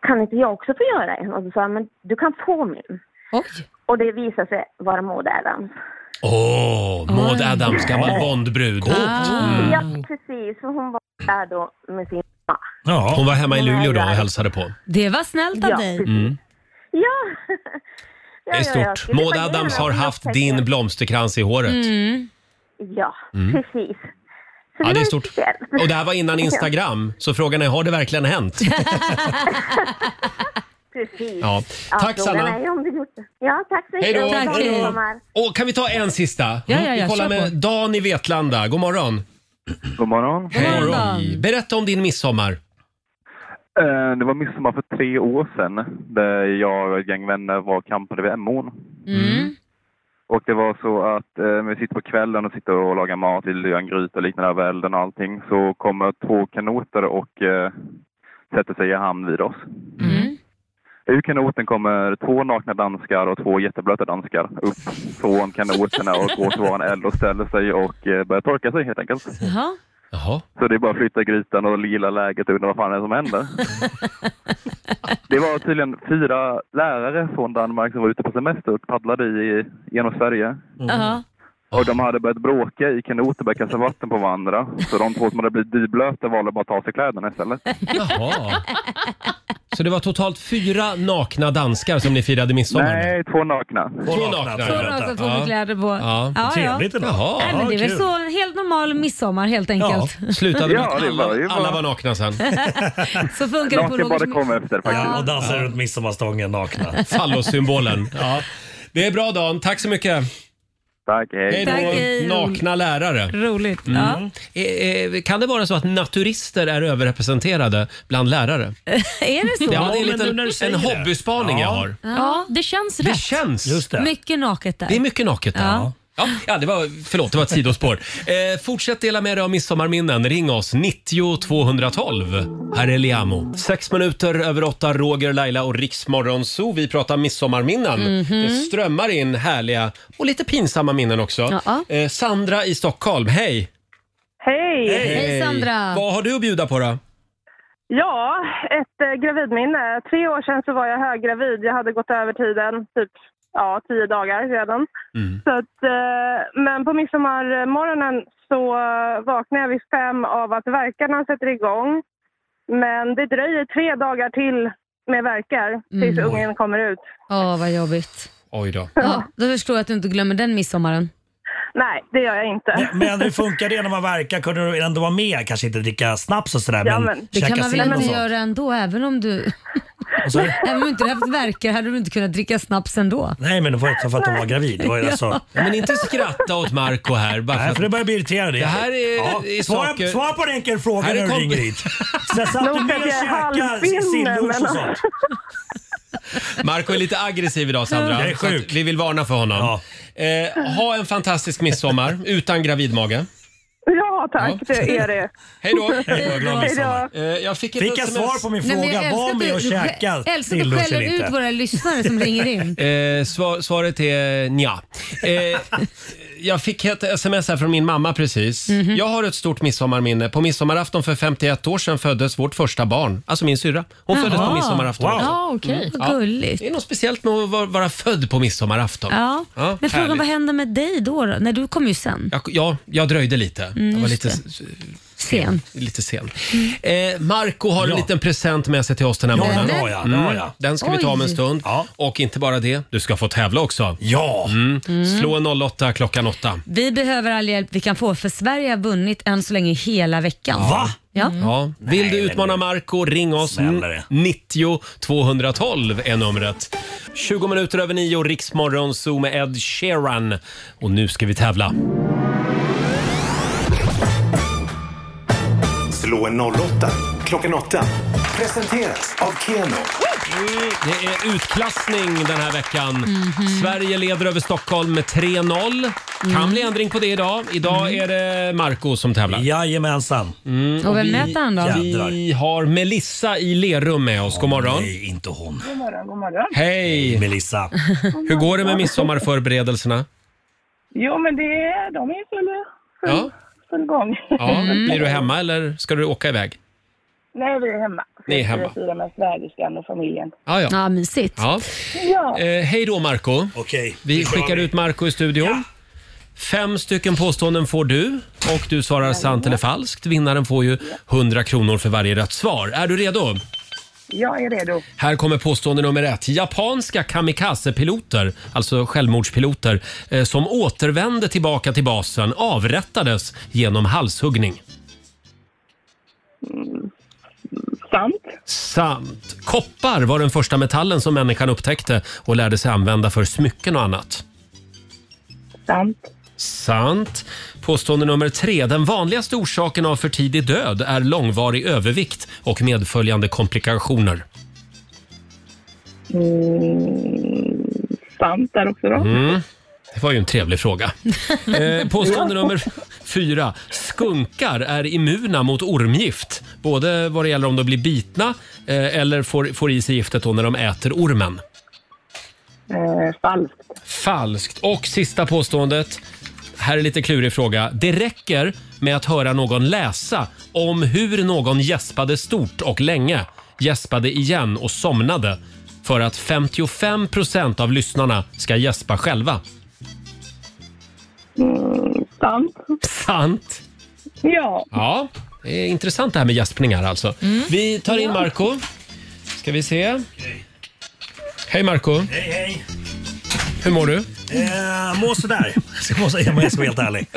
Kan inte jag också få göra en? Och då sa jag men du kan få min. Och det visade sig vara Maud Adams.
Åh, Maud Adams, gammal Bondbrud.
Ah.
Ja
Mm.
precis, för hon var där då med sin mamma.
Hon var hemma i Luleå då och hälsade på.
Det var snällt av
Ja,
dig.
Mm.
Ja!
Det är stort. Maud Adams har haft din blomsterkrans i håret.
Mm. Ja,
Mm.
precis.
Ja, det är stort. Och det här var innan Instagram, så frågan är har det verkligen hänt?
Precis.
Ja. Tack,
frågan
Sanna.
är ju om du gjort det. Ja, tack så mycket.
Hej då!
Tack,
Hej då.
sommar.
Och kan vi ta en sista?
Ja, ja, ja,
vi kollar
kör
med
på.
Dan i Vetlanda. God morgon.
God morgon.
Hej.
morgon,
Dan. Berätta om din midsommar.
Eh, Det var midsommar för tre år sedan där jag och ett gäng vänner var och campade vid Emån.
Mm.
Mm.
Och det var så att eh, vi sitter på kvällen och sitter och lagar mat, vill göra en gryta och liknande över elden och allting. Så kommer två kanoter och eh, sätter sig i hamn vid oss. Ur kanoten kommer två nakna danskar och två jätteblöta danskar upp från kanoterna och går till våran eld och ställer sig och eh, börjar torka sig helt enkelt.
Jaha.
Så det är bara att flytta grytan och gilla läget och undra vad fan det är som händer. Det var tydligen fyra lärare från Danmark som var ute på semester och paddlade i, genom Sverige.
Jaha.
Och de hade börjat bråka i kanot och börjat kasta vatten på varandra. Så de två som hade blivit dyblöta valde bara att ta av sig kläderna istället.
Jaha. Så det var totalt fyra nakna danskar som ni firade midsommar med?
Nej, två nakna.
Två nakna.
Två nakna, två med kläder på.
Ja. Jaha.
Nej, men det är väl så en helt normal midsommar helt enkelt.
Slutade med att
det
alla,
var ju bara-
alla var nakna sen.
Så funkar det på Rogers...
kom efter
faktiskt.
Ja, och dansade runt midsommarstången nakna.
Fallosymbolen. Ja. Det är bra Dan, tack så mycket.
Tack,
hej.
Tack,
Hej
hej.
då. Nakna lärare.
Roligt.
Mm.
Ja.
Eh, eh, Kan det vara så att naturister är överrepresenterade bland lärare?
är det så?
Ja, det är en, liten, en hobbyspaning jag har.
Ja, det känns
Det känns.
Mycket naket där.
Det är mycket naket där.
Ja.
Ja. Ja, det var, förlåt, det var ett sidospår. Eh, fortsätt dela med dig av midsommarminnen. Ring oss, 90 212. Här är Liamo. Sex minuter över åtta, Roger, Laila och Riksmorgon Zoo. Vi pratar midsommarminnen.
Mhm.
Det strömmar in härliga och lite pinsamma minnen också. Eh, Sandra i Stockholm, hej!
Hej!
Vad har du att bjuda på då?
Ja, ett eh, gravidminne. Tre år sedan så var jag höggravid. Jag hade gått över tiden, typ ja, tio dagar redan.
Mm.
Så att, eh, men på midsommarmorgonen så eh, vaknar jag vid fem av att verkarna sätter igång. Men det dröjer tre dagar till med verkar tills
Mm.
ungen kommer ut.
Åh, vad jobbigt.
Oj då.
Ja, då förstår jag att du inte glömmer den midsommaren.
Nej, det gör jag inte.
Men hur funkar det när man verkar? Kunde du ändå vara med? Kanske inte dricka snaps och sådär,
Ja,
men,
men-
Det kan
käka
man väl
sill och
ändå
sånt?
göra ändå, även om du...
Vad sa du?
även om du inte hade haft värkar hade du inte kunnat dricka snaps ändå.
Nej, men det var också för att hon var gravid. Det var ju
Ja.
alltså...
Ja, men inte skratta åt Marco här. Bara
Nej, för det börjar bli irriterande.
Det här är, är
svara,
saker...
svara på en enkel fråga
Här är
när du
kom-
ringer hit. Så satt du
Nog
med
att
och
jag är
käkade
halvfinne,
sillunch och
men-
sånt?
Marco är lite aggressiv idag Sandra.
Jag är
Så att
sjuk.
Vi vill varna för honom. Eh, ha en fantastisk midsommar utan gravidmage.
Ja,
tack. Det är det.
Hej då!
Hej då, glad midsommar.
Eh, Jag fick, ett
Fick jag svar på min
Nej, men jag
fråga?
älskar
Var
att
med
du-
och
du
käka
skä- älskar att
sill
du
och
skäller
chili.
ut
inte.
vår-
Våra lyssnare som ringer in.
Eh, svar, svaret är nja. Eh, jag fick ett sms här från min mamma precis.
Mhm.
Jag har ett stort midsommarminne. På midsommarafton för 51 år sedan föddes vårt första barn, alltså min syrra. Hon föddes på
Jaha.
midsommarafton.
Wow.
också.
Ja, okej. Vad
Ja.
gulligt.
Det är något speciellt med att vara- vara född på midsommarafton.
Ja. Men frågan
härligt.
vad händer med dig då? då? Nej, du kommer ju sen.
jag, ja, jag dröjde lite.
Mm,
jag var
just
lite,
Sen.
lite sen. Eh, Marco har en liten present med sig till oss den här
Ja,
morgonen. Mm.
bra, ja, bra, ja.
Den ska vi ta om en
Oj.
stund. Och inte bara det, du ska få tävla också. Ja! Mm.
Mm.
Slå en 08 klockan 8.
Vi behöver all hjälp vi kan få för Sverige har vunnit än så länge hela veckan.
Va?
Ja.
Ja. Vill du utmana Marco, ring oss. 90 212 är numret. 20 minuter över 9, Riksmorgon, Zoom med Ed Sheeran. Och nu ska vi tävla.
Slå en 08 klockan 8. Presenteras av Keno.
Det är utklassning den här veckan.
Mhm.
Sverige leder över Stockholm med 3-0. Kan
Mm.
bli ändring på det idag. Idag är det Marco som tävlar. Jajamensan. Mm,
Och vem möter han då?
Vi har Melissa i Lerum med oss. God morgon.
Nej, inte hon.
God morgon, god morgon.
Hej! Melissa. Hur går det med midsommarförberedelserna?
Jo, men det, är- de är i full,
Ja.
full, full gång.
Ja,
Mm.
Blir du hemma eller ska du åka iväg?
Nej, vi är hemma.
Ni är hemma.
Vi firar med svägerskan och familjen.
Ah, ja.
Ja, mysigt.
Ja.
Ja.
Eh, hej då Marco. vi
nu kör
skickar
vi.
ut Marco i studion. Fem stycken påståenden får du och du svarar sant eller falskt. Vinnaren får ju 100 kronor för varje rätt svar. Är du redo?
Jag är redo.
Här kommer påstående nummer ett. Japanska kamikazepiloter, alltså självmordspiloter, eh, som återvände tillbaka till basen avrättades genom halshuggning.
Mm. Sant.
Sant. Koppar var den första metallen som människan upptäckte och lärde sig använda för smycken och annat.
Sant.
Sant. Påstående nummer tre. Den vanligaste orsaken av för tidig död är långvarig övervikt och medföljande komplikationer.
Mm, sant där också då.
Mm. Det var ju en trevlig fråga. Eh, påstående nummer fyra. Skunkar är immuna mot ormgift. Både vad det gäller om de blir bitna eh, eller får, får i sig giftet då när de äter ormen.
Eh, falskt.
Falskt. Och sista påståendet. Här är lite klurig fråga. Det räcker med att höra någon läsa om hur någon gäspade stort och länge, gäspade igen och somnade för att 55 procent av lyssnarna ska gäspa själva.
Mm, sant.
Sant.
Ja.
Ja, det är intressant det här med gäspningar alltså. Vi tar in
Ja.
Marco. Ska vi se. Hej Marco.
Hej, hej.
Hur mår du?
Eh, må sådär. Ska jag säga om jag ska vara helt ärlig.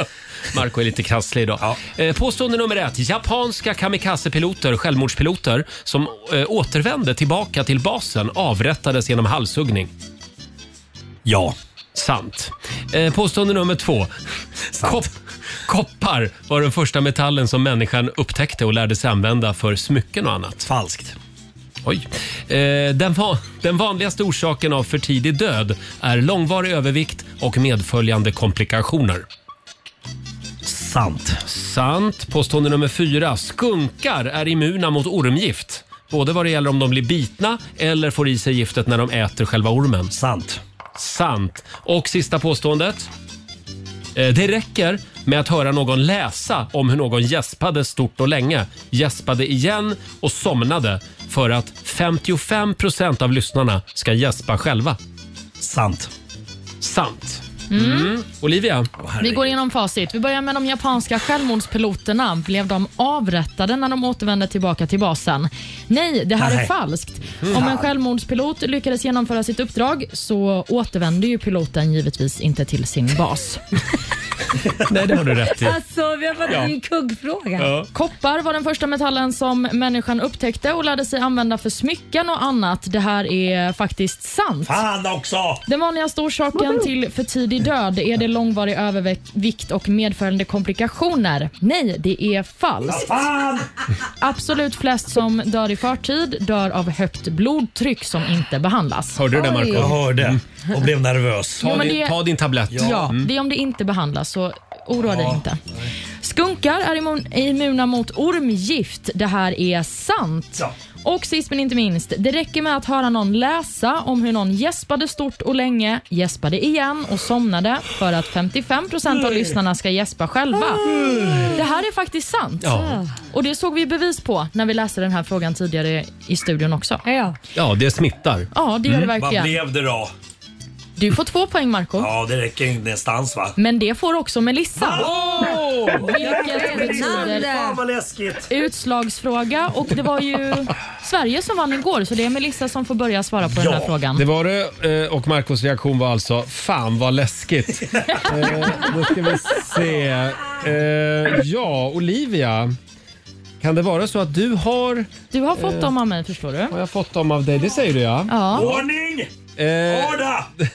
Marco är lite krasslig idag. Eh, Påstående nummer ett. Japanska kamikazepiloter, självmordspiloter, som eh, återvände tillbaka till basen avrättades genom halshuggning. Ja. Sant. Eh, Påstående nummer två. Kopp, koppar var den första metallen som människan upptäckte och lärde sig använda för smycken och annat. Falskt. Oj. Eh, Den, va- den vanligaste orsaken av för tidig död är långvarig övervikt och medföljande komplikationer. Sant. Sant. Påstående nummer fyra. Skunkar är immuna mot ormgift. Både vad det gäller om de blir bitna eller får i sig giftet när de äter själva ormen. Sant. Sant. Och sista påståendet. Eh, Det räcker med att höra någon läsa om hur någon gäspade stort och länge, gäspade igen och somnade för att 55 procent av lyssnarna ska gäspa själva. Sant. Sant. Mm. Olivia?
Vi går igenom facit. Vi börjar med de japanska självmordspiloterna. Blev de avrättade när de återvände tillbaka till basen? Nej, det här
Nej.
är falskt.
Mm.
Om en självmordspilot lyckades genomföra sitt uppdrag så återvände ju piloten givetvis inte till sin bas.
Nej, det har du rätt i.
Alltså, vi har
fått Ja. en
kuggfråga.
Ja.
Koppar var den första metallen som människan upptäckte och lärde sig använda för smycken och annat. Det här är faktiskt sant.
Fan också!
Den vanligaste orsaken till för tidig död är det långvarig övervikt och medföljande komplikationer. Nej, det är falskt. Absolut flest som dör i förtid dör av högt blodtryck som inte behandlas.
Hörde du det Marco? Mm.
Jag hörde och blev nervös.
Ta,
Jo, men
din,
det-
Mm.
ta din tablett.
Ja, det är om det inte behandlas, så oroa dig inte. Skunkar är immun- immuna mot ormgift. Det här är sant. Och sist men inte minst, det räcker med att höra någon läsa om hur någon gäspade stort och länge, gäspade igen och somnade för att 55% av
Nej.
lyssnarna ska gäspa själva. Det här är faktiskt sant.
Ja.
Och det såg vi bevis på när vi läste den här frågan tidigare i studion också.
Ja,
Ja, det smittar.
ja det gör det verkligen.
Mm. Vad blev det då?
Du får två poäng Marco.
Ja, det räcker inte nästans va?
Men det får också Melissa.
Åh!
Vilket
Fan vad
betyder
läskigt.
utslagsfråga och det var ju Sverige som vann igår så det är Melissa som får börja svara på den här frågan.
det var det. eh, Och Marcos reaktion var alltså “Fan vad läskigt”. eh, då ska vi se. Eh, ja, Olivia. Kan det vara så att du har... eh,
Du har fått dem av mig förstår du.
Har jag fått dem av dig? Det säger du ja.
Ja.
Ordning!
Eh,
Orda!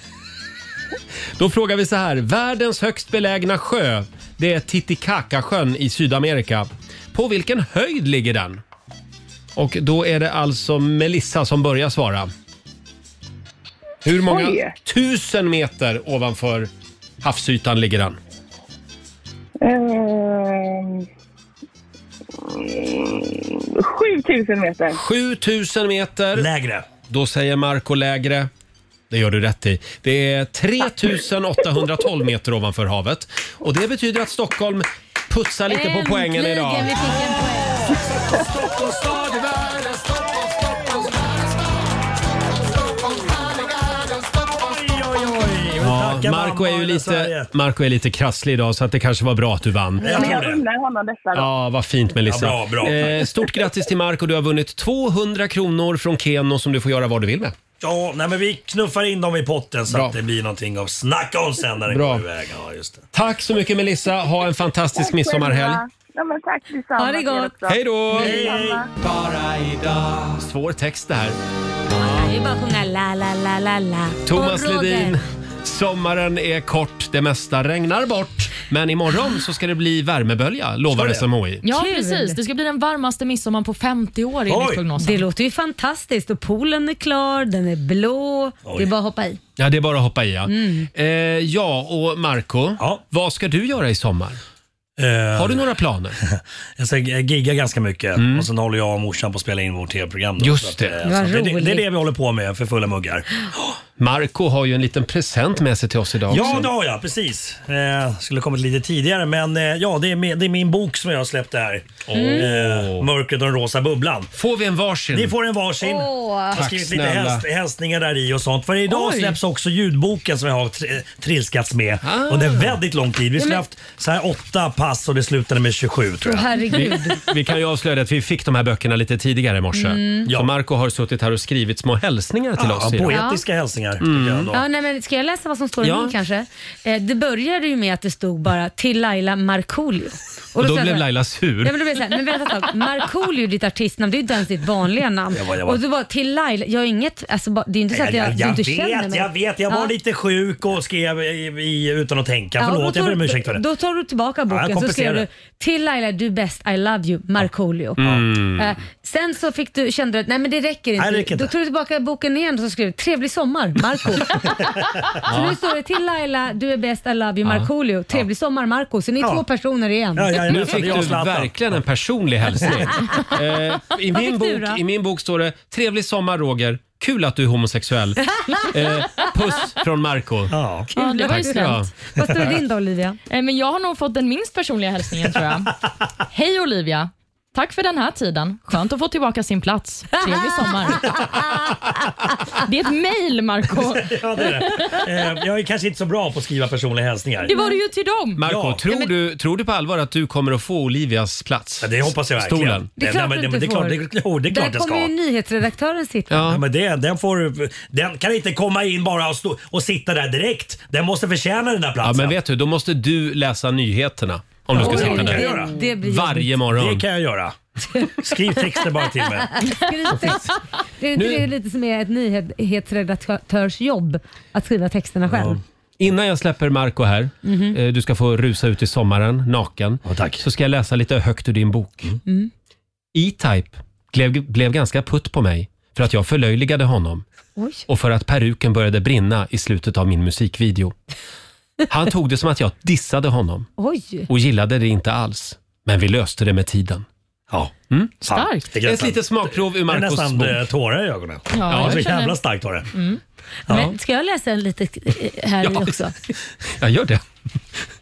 Då frågar vi så här. Världens högst belägna sjö, det är Titicacasjön i Sydamerika. På vilken höjd ligger den? Och då är det alltså Melissa som börjar svara. Hur många
Oj.
tusen meter ovanför havsytan ligger den?
Ehm, mm, 7000 meter.
7000 meter.
Lägre.
Då säger Marco lägre. Det gör du rätt i. Det är 3812 meter ovanför havet. Och det betyder att Stockholm putsar lite på poängen idag.
vi fick en poäng. Stockholms stad är världens, Stockholms, Stockholms världens Stockholms härliga världens, Stockholms, Stockholms
Ja,
Tacka
Marco är ju lite, Marco är lite krasslig idag så att det kanske var bra att du vann.
Men jag undrar honom detta då.
Ja, vad fint Melissa.
Ja, bra, bra.
Eh, stort grattis till Marco. Du har vunnit 200 kronor från Keno som du får göra vad du vill med.
Ja, nej men vi knuffar in dem i potten så
Bra.
att det blir någonting av snacka om sen när den
Bra.
går iväg. Ja, just det.
Tack så mycket Melissa. Ha en fantastisk midsommarhelg.
Ja, men tack detsamma.
Ha det
till er
gott.
också.
Hej då!
Detsamma.
Bara idag. Svår text det här.
Det är bara att sjunga la la la la la.
Thomas
Och Roger.
Ledin. Sommaren är kort, det mesta regnar bort. Men imorgon så ska det bli värmebölja, lovar SMHI.
Ja,
Kul.
precis. Det ska bli den varmaste midsommar på 50 år enligt prognosen.
Det låter ju fantastiskt och poolen är klar, den är blå. Det är bara att hoppa i.
Ja, det är bara att hoppa i ja. Eh, ja, och Marco, vad ska du göra i sommar?
Eh.
Har du några planer? Mm.
Jag ska gigga ganska mycket och sen håller jag och morsan på att spela in vårt tv-program. då.
Just
Så att,
det.
eh,
Vad
så det, det är det
roligt.
vi håller på med för fulla muggar.
Marco har ju en liten present med sig till oss idag
Ja,
också.
det har jag. Precis. Eh, skulle kommit lite tidigare, men eh, ja, det är, min, det är min bok som jag har släppt här.
Mm.
Eh, Mörkret och den rosa bubblan.
Får vi en varsin?
Ni får en varsin.
Åh.
jag har
Tack
skrivit lite
snälla.
häls- hälsningar där i och sånt. För idag
Oj.
släpps också ljudboken som jag har tr- trilskats med
Ah.
under väldigt lång tid. Vi
Ja,
skulle
men-
haft så här åtta pass och det slutade med 27 tror jag.
Åh, herregud.
Vi, vi kan ju avslöja att vi fick de här böckerna lite tidigare i morse.
Mm.
Så Marco har suttit här och skrivit små hälsningar till
Ja,
oss idag. Mm.
poetiska Ja. hälsningar, jag ändå.
Ja, nej, men ska jag läsa vad som står
Ja.
i min kanske? Eh, det började ju med att det stod bara till Laila Markoolio.
Och då,
sa jag så
blev
här-
Laila sur.
Ja, men då blev jag så här, men vänta ett tag. Markoolio är ditt artistnamn, det är ju inte ens ditt vanliga namn.
Jag bara, jag bara-
Och så bara till Laila, jag har inget, alltså, bara- det är ju inte så att jag,
jag,
du inte
vet,
känner mig.
jag vet. Jag var lite sjuk och skrev i, i, utan att tänka.
Ja, och
Förlåt,
då
jag
tar
ber om
du-
ursäkt för det.
Då tar du tillbaka boken
jag
så skrev
kompenserar
du “Till Laila, du är bäst, I love you, Markoolio”.
Mm.
Eh, sen så fick du, kände du att nej men det räcker inte.
Nej, det räcker inte.
Då tog du tillbaka boken igen och så skrev du “Trevlig sommar, Marco”. Så nu står det “Till Laila, du är bäst, I love you,
Ja.
Markoolio. Trevlig sommar, Marco”. Så ni är två personer igen.
nu fick du verkligen en personlig hälsning. Eh, i,
Vad
min
fick du
bok,
då?
I min bok står det “Trevlig sommar Roger, kul att du är homosexuell”. Eh, puss från Marco
Ja,
Ja, det var ju snällt.
Vad står det din då Olivia?
Eh, Men jag har nog fått den minst personliga hälsningen tror jag. Hej Olivia! Tack för den här tiden. Skönt att få tillbaka sin plats. Trevlig sommar. Det är ett mejl, Marco.
Ja, det är det. Eh, Jag är kanske inte så bra på att skriva personliga hälsningar.
Det var det ju till dem.
Marco, tror, du, tror du på allvar att du kommer att få Olivias plats?
det hoppas jag verkligen.
Stolen.
Det är klart du inte
det är klart,
får.
det, är- jo, det är klart
Där
jag ska.
kommer ju nyhetsredaktören sitta.
Ja. men det, den, får, den kan inte komma in bara och, stå, och sitta där direkt. Den måste förtjäna den där
Ja,
platsen.
men vet du, då måste du läsa nyheterna om du ska
Oj,
sitta
det kan jag
där.
göra.
Det blir
Varje morgon.
Det kan jag göra. Skriv texter bara till mig.
Det är inte
Nu-
det lite som är ett nyhetsredaktörsjobb? Att skriva texterna själv?
Innan jag släpper Marco här,
Mhm.
eh, du ska få rusa ut i sommaren naken. Så ska jag läsa lite högt ur din bok.
Mm.
E-Type blev, blev ganska putt på mig för att jag förlöjligade honom
Oj.
och för att peruken började brinna i slutet av min musikvideo. Han tog det som att jag dissade honom
Oj.
och gillade det inte alls. Men vi löste det med tiden. Ja. Mm?
Starkt.
Ett litet smakprov ur Marcos
Det är nästan
bok.
eh, tårar i ögonen.
Ja, jag
så
känner-
jävla starkt var det.
Mm.
Ja.
Men, ska jag läsa en liten eh, här
Ja.
också?
Jag gör det.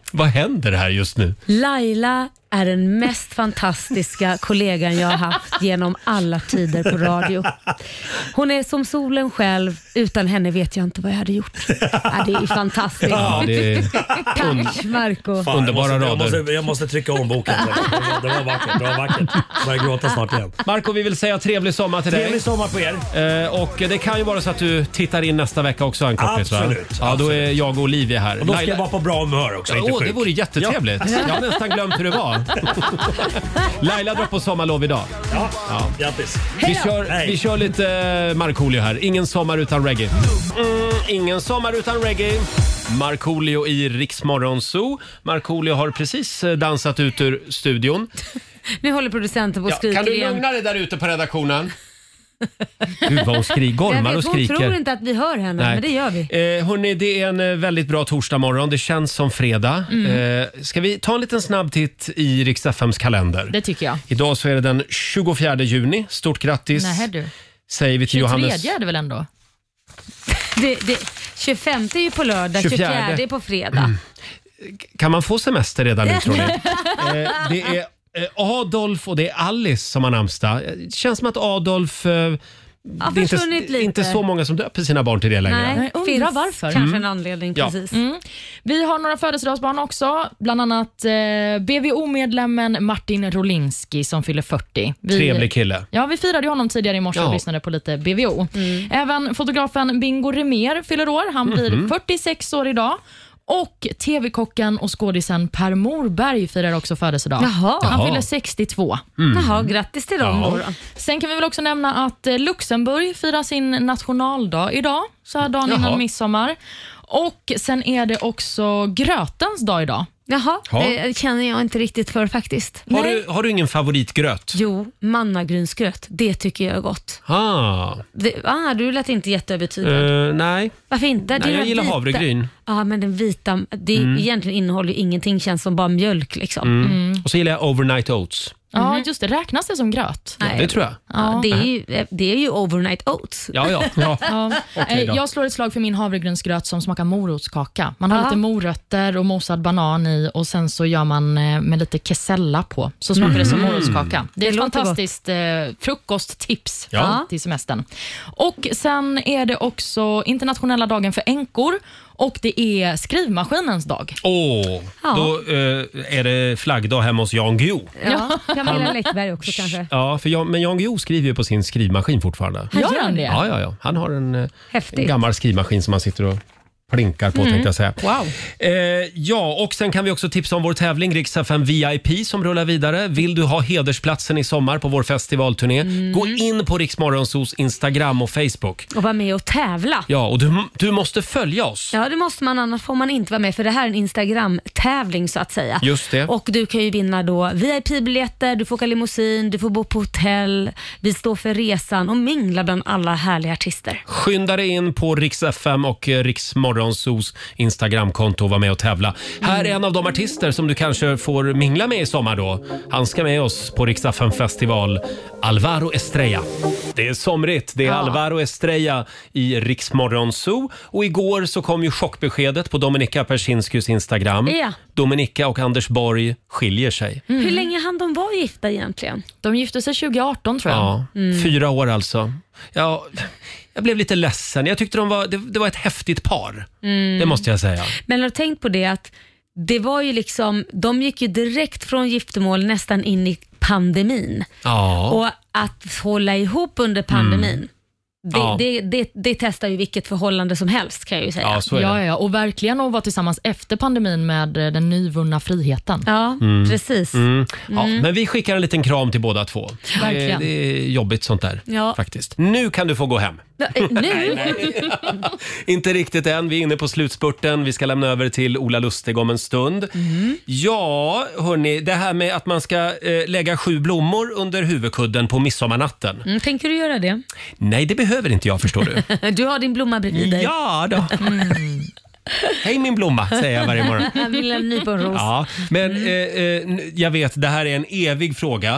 Vad händer här just nu?
Laila är den mest fantastiska kollegan jag har haft genom alla tider på radio. Hon är som solen själv. Utan henne vet jag inte vad jag hade gjort. Ja, det är fantastiskt.
Ja, det är-
Tack Marco
Fan,
Underbara
jag
rader.
måste, Jag måste, jag måste trycka om boken. Det var vackert. Det var vackert. Jag börjar gråta snart igen.
Marco, vi vill säga trevlig sommar till dig.
Trevlig sommar på er.
Eh, och det kan ju vara så att du tittar in nästa vecka också en kortis,
Absolut,
Va? Ja, då är jag och Olivia här.
Och då ska
Laila-
jag vara på bra humör också,
Ja,
inte
åh, det
sjuk.
vore jättetrevligt.
Ja.
Jag har nästan glömt hur det var. Laila drar på sommarlov idag.
Ja, grattis.
Vi kör, vi kör lite eh, Markoolio här. Ingen sommar utan reggae. Mm, ingen sommar utan reggae. Markoolio i Rix Morgon Zoo. Markoolio har precis eh, dansat ut ur studion.
Nu håller producenten på och
Ja,
skriker
kan du
igen.
lugna dig där ute på redaktionen? Gud vad hon skri-
Jag
gormar
vet,
och skriker.
Hon tror inte att vi hör henne,
Nej.
men det gör vi.
Eh, hörni, det är en eh, väldigt bra torsdagmorgon. Det känns som fredag.
Mm.
Eh, ska vi ta en liten snabb titt i Rix FMs kalender?
Det tycker jag.
Idag så är det den 24 juni. Stort grattis
Nähä du.
säger vi till
23
Johannes.
är det väl ändå?
Det, det, 25 är ju på lördag, 24,
24
är på fredag.
Kan man få semester redan Mm. nu tror ni? eh, det är eh, Adolf och det är Alice som har namnsdag. Eh, Det känns som att Adolf... Eh, det är
försvunnit
inte,
lite.
inte så många som döper sina barn till det längre.
Nej,
undrar
finns
varför.
kanske
Mm.
en anledning.
Ja.
Precis.
Mm. Vi har några födelsedagsbarn också, bland annat eh, BVO-medlemmen Martin Rolinski som fyller 40. Vi,
Trevlig kille.
Ja, vi firade ju honom tidigare i morse
Ja.
och lyssnade på lite BVO.
Mm.
Även fotografen Bingo Remer fyller år. Han blir
Mhm.
46 år idag. Och TV-kocken och skådisen Per Morberg firar också födelsedag.
Jaha.
Han
Jaha.
fyller 62.
Mm. Jaha, grattis till dem då. då.
Sen kan vi väl också nämna att eh, Luxemburg firar sin nationaldag idag, så här dagen
Jaha.
innan midsommar. Och sen är det också grötens dag idag.
Jaha,
Ja.
det känner jag inte riktigt för faktiskt.
Har, du, har du ingen favoritgröt?
Jo, mannagrynsgröt, det tycker jag är gott.
Ah.
Det, ah, du lät inte jätteövertygad.
Eh, nej.
Varför inte?
Nej,
är
jag
den
gillar
vita-
havregryn.
Ja, men den vita, det
Mm.
egentligen innehåller ju ingenting, känns som bara mjölk liksom. Mm.
Mm. Och så gillar jag overnight oats.
Ja, just det. Räknas det som gröt?
Ja, det tror jag.
Ja, det, är ju, det är ju overnight oats.
Ja, ja. ja. Okej då.
Eh, Jag slår ett slag för min havregrynsgröt som smakar morotskaka. Man har
Ja.
lite morötter och mosad banan i och sen så gör man eh, med lite kesella på. Så smakar det som
Mm.
morotskaka. Det,
Det
är ett
låter
fantastiskt eh, frukosttips
Ja.
fram till semestern. Och Sen är det också internationella dagen för änkor och det är skrivmaskinens dag.
Åh,
Ja.
då eh, är det flaggdag hemma hos Jan Guillou.
Ja, Camilla
Han-
Läckberg också kanske.
Ja, för Jan, men Jan Guillou skriver ju på sin skrivmaskin fortfarande.
Han gör han det?
Ja, ja, ja. Han har en, eh, en
Häftigt.
gammal skrivmaskin som han sitter och plinkar på
Mm.
tänkte jag säga.
Wow.
Eh, ja, och sen kan vi också tipsa om vår tävling Riksfm VIP som rullar vidare. Vill du ha hedersplatsen i sommar på vår festivalturné? Gå
Mm.
in på Riksmorgonsos Instagram och Facebook.
Och vara med och tävla.
Ja, och du, du måste följa oss.
Ja, det måste man, annars får man inte vara med för det här är en Instagram-tävling så att säga.
Just det.
Och du kan ju vinna då VIP-biljetter, du får åka limousin, du får bo på hotell, vi står för resan och mingla bland alla härliga artister.
Skynda dig in på Rix FM och eh, Rix Morgonzos Instagramkonto och var med och tävla. Här är en av de artister som du kanske får mingla med i sommar då. Han ska med oss på Rix FM festival. Alvaro Estrella. Det är somrigt. Det är Alvaro Estrella i Rix Morgonzoo. Och igår så kom ju chockbeskedet på Dominika Persinskys Instagram.
Ja.
Dominika och Anders Borg skiljer sig.
Hur länge hann de vara gifta egentligen?
Mm. De gifte sig 2018 tror jag.
Ja,
Mm.
Fyra år alltså. Ja, jag blev lite ledsen. Jag tyckte de var, det, det var ett häftigt par.
Mm.
Det måste jag säga.
Men har du tänkt på det att det var ju liksom, de gick ju direkt från giftermål nästan in i pandemin.
Ja. Mm.
Och att hålla ihop under pandemin, det,
Ja.
det, det, det testar ju vilket förhållande som helst kan jag ju säga.
Ja, så är det.
Ja, ja, och verkligen att vara tillsammans efter pandemin med eh, den nyvunna friheten.
Ja,
Mm.
precis.
Mm. Ja,
Mm.
Men vi skickar en liten kram till båda två. Det,
Verkligen.
det är jobbigt sånt där.
Ja.
Faktiskt. Nu kan du få gå hem.
Nu?
Inte riktigt än. Vi är inne på slutspurten. Vi ska lämna över till Ola Lustig om en stund.
Mm.
Ja, hörni. Det här med att man ska eh, lägga sju blommor under huvudkudden på midsommarnatten.
Mm, tänker du göra det?
Nej, det behöver inte jag förstår du.
Du har din blomma bredvid dig.
Ja då. Hej min blomma, säger jag varje morgon.
Jag vill ha en nyponros.
Ja, men
Mm.
eh, eh, n- jag vet, det här är en evig fråga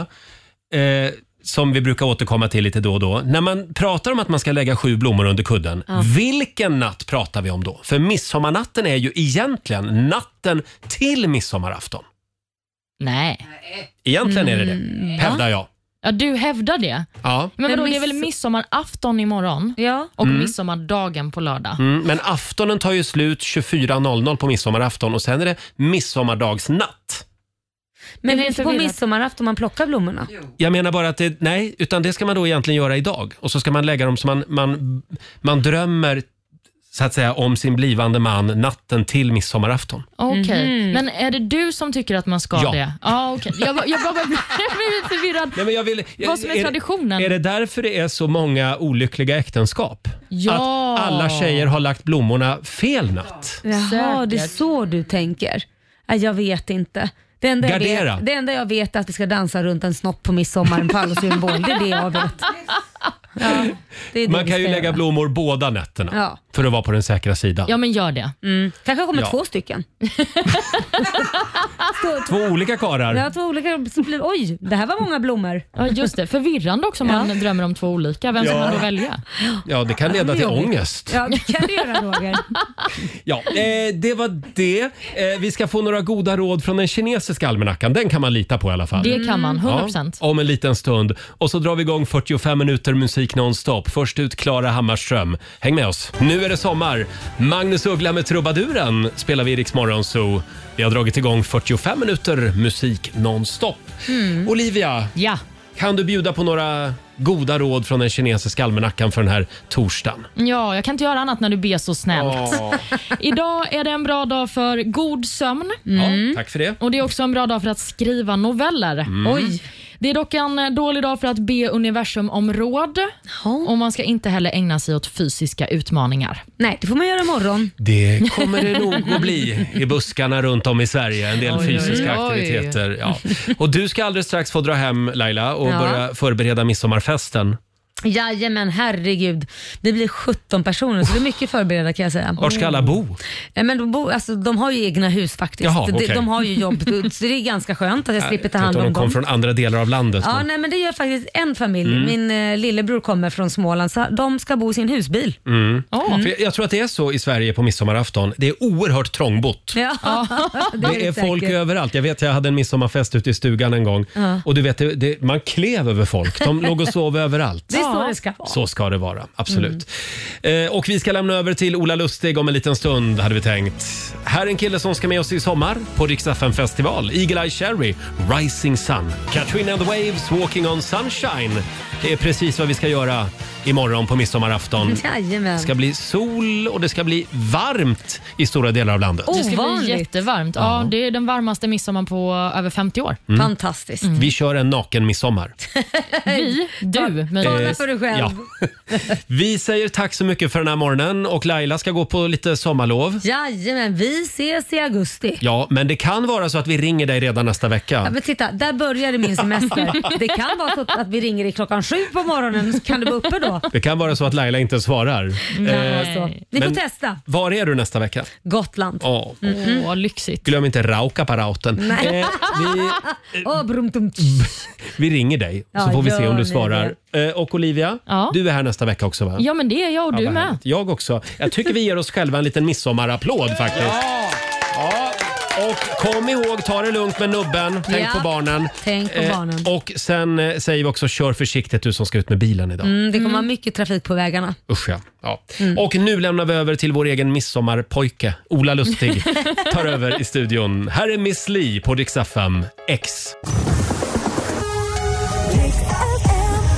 eh, som vi brukar återkomma till lite då och då. När man pratar om att man ska lägga sju blommor under kudden,
Ja.
vilken natt pratar vi om då? För midsommarnatten är ju egentligen natten till midsommarafton.
Nej.
Egentligen är det det,
Mm,
hävdar
va?
jag.
Ja, du hävdar det.
Ja.
Men vadå, det är
miss-
väl midsommarafton imorgon
ja.
och
Mm.
midsommardagen på lördag?
Mm, men aftonen tar ju slut 24.00 på midsommarafton och sen är det midsommardagsnatt.
Men
Det är
det är på
förvirrat.
midsommarafton man plockar blommorna.
Jag menar bara att det, nej, utan det ska man då egentligen göra idag. Och så ska man lägga dem så man, man, man drömmer så att säga om sin blivande man natten till midsommarafton.
Okej,
Mhm.
men är det du som tycker att man ska
Ja.
det? Ja. okej. Jag, var- jag, bara- jag blev lite förvirrad.
Nej, men jag vill,
Vad som är,
det-
traditionen?
Är det därför det är så många olyckliga äktenskap?
Ja.
Att alla tjejer har lagt blommorna fel natt.
Jaha,
Säkert.
det är så du tänker. Nej, jag vet inte. Det enda, jag
Gardera.
vet, det enda jag vet är att vi ska dansa runt en snopp på midsommar, en pallosymbol. Det är det jag vet. Ja, det är det
Man
vi
kan ju
ska
lägga
göra.
blommor båda nätterna
Ja.
för att vara på den säkra sidan.
Ja, men gör det.
Mm. Kanske kommer
Ja.
två stycken. Stå-
Två olika karar.
Ja, två olika. så blir- Oj, det här var många blommor.
Ja, just det. Förvirrande också om man drömmer om två olika. Vem ska
Ja.
man då välja?
Ja, det kan leda till ångest.
Ja, det kan du göra Roger.
Ja, eh, det var det. Eh, vi ska få några goda råd från den kinesiska almanackan. Den kan man lita på i alla fall. Mm.
Det kan man, 100%.
Ja, om en liten stund. Och så drar vi igång 45 minuter musik nonstop. Först ut Klara Hammarström. Häng med oss. Nu är det sommar. Magnus Uggla med trubaduren spelar vi i Rix Morgon Zoo. Vi har dragit igång 45 minuter musik nonstop. Olivia,
ja.
kan du bjuda på några goda råd från den kinesiska almanackan för den här torsdagen?
Ja, jag kan inte göra annat när du ber så snällt.
Åh.
Idag är det en bra dag för god sömn. Mm.
Ja, tack för det.
Och Det är också en bra dag för att skriva noveller.
Mm. Oj.
Det är dock en eh, dålig dag för att be universum om råd. Och man ska inte heller ägna sig åt fysiska utmaningar.
Nej, det får man göra imorgon.
Det kommer det nog att bli i buskarna runt om i Sverige. En del
Oj, oj,
fysiska
oj.
aktiviteter. Ja. Och du ska alldeles strax få dra hem Laila och
Ja.
börja förbereda midsommarfesten.
Jajamän, herregud. Vi blir 17 personer så det är mycket förberedda kan jag säga.
Var ska alla bo?
Eh, Men de, bor, alltså, de har ju egna hus faktiskt.
Jaha,
de,
okej.
de har ju jobb, så det är ganska skönt att jag slipper ta
Jag vet
hand
inte de
om
kom
dem.
från andra delar av landet.
Ja,
men-
nej, men det gör faktiskt en familj.
Mm.
Min eh, lillebror kommer från Småland så de ska bo i sin husbil.
Mm.
Åh.
För jag- jag tror att det är så i Sverige på midsommarafton. Det är oerhört trångbott.
Ja,
Det är, folk
säkert.
överallt. Jag vet, jag hade en midsommarfest ute i stugan en gång.
Ja.
Och du vet, det, det, man klev över folk. De låg och sov överallt.
Det är så det ska vara. Mm.
Så ska det vara, absolut. Eh, och vi ska lämna över till Ola Lustig om en liten stund, hade vi tänkt. Här är en kille som ska med oss i sommar på Riksdagen festival. Eagle Eye Cherry, Rising Sun. Katrina and the Waves, Walking on Sunshine. Det är precis vad vi ska göra imorgon på midsommarafton. Det
Jajamän.
ska bli sol och det ska bli varmt i stora delar av landet.
Det ska bli jättevarmt. Ja, det är den varmaste midsommar på över 50 år.
Mm.
Fantastiskt.
Vi kör en naken midsommar.
Vi, du, men-
Eh, ja. Vi säger tack så mycket för den här morgonen och Laila ska gå på lite sommarlov.
Jajamän, vi ses i augusti.
Ja, men det kan vara så att vi ringer dig redan nästa
Ja,
vecka.
men titta, där började min semester. Det kan vara så att vi ringer i klockan sju på morgonen, så kan du vara uppe då?
Det kan vara så att Laila inte svarar.
Nej.
Eh,
Alltså. Ni får
men
testa.
Var är du nästa vecka?
Gotland.
Ja.
Mhm.
Åh, lyxigt.
Glöm inte Raukapparauten.
Nej.
Eh, vi,
Åh, brumtum.
vi ringer dig så
Ja,
får vi se
gör
om du
ni
svarar. Eh, och Olivia,
Ja.
du är här nästa vecka också va?
Ja, men det är jag och
Ja,
du
vad
med.
härligt. Jag också. Jag tycker vi ger oss själva en liten midsommarapplåd faktiskt. Ja. Och kom ihåg, ta det lugnt med nubben. Tänk
Ja.
på barnen.
Tänk på
Eh,
barnen.
och sen eh, säger vi också kör försiktigt du som ska ut med bilen idag.
Mm, det kommer vara mycket trafik på vägarna.
Usch ja. ja. Och nu lämnar vi över till vår egen midsommarpojke. Ola Lustig tar över i studion. Här är Miss Li på Rix FM X.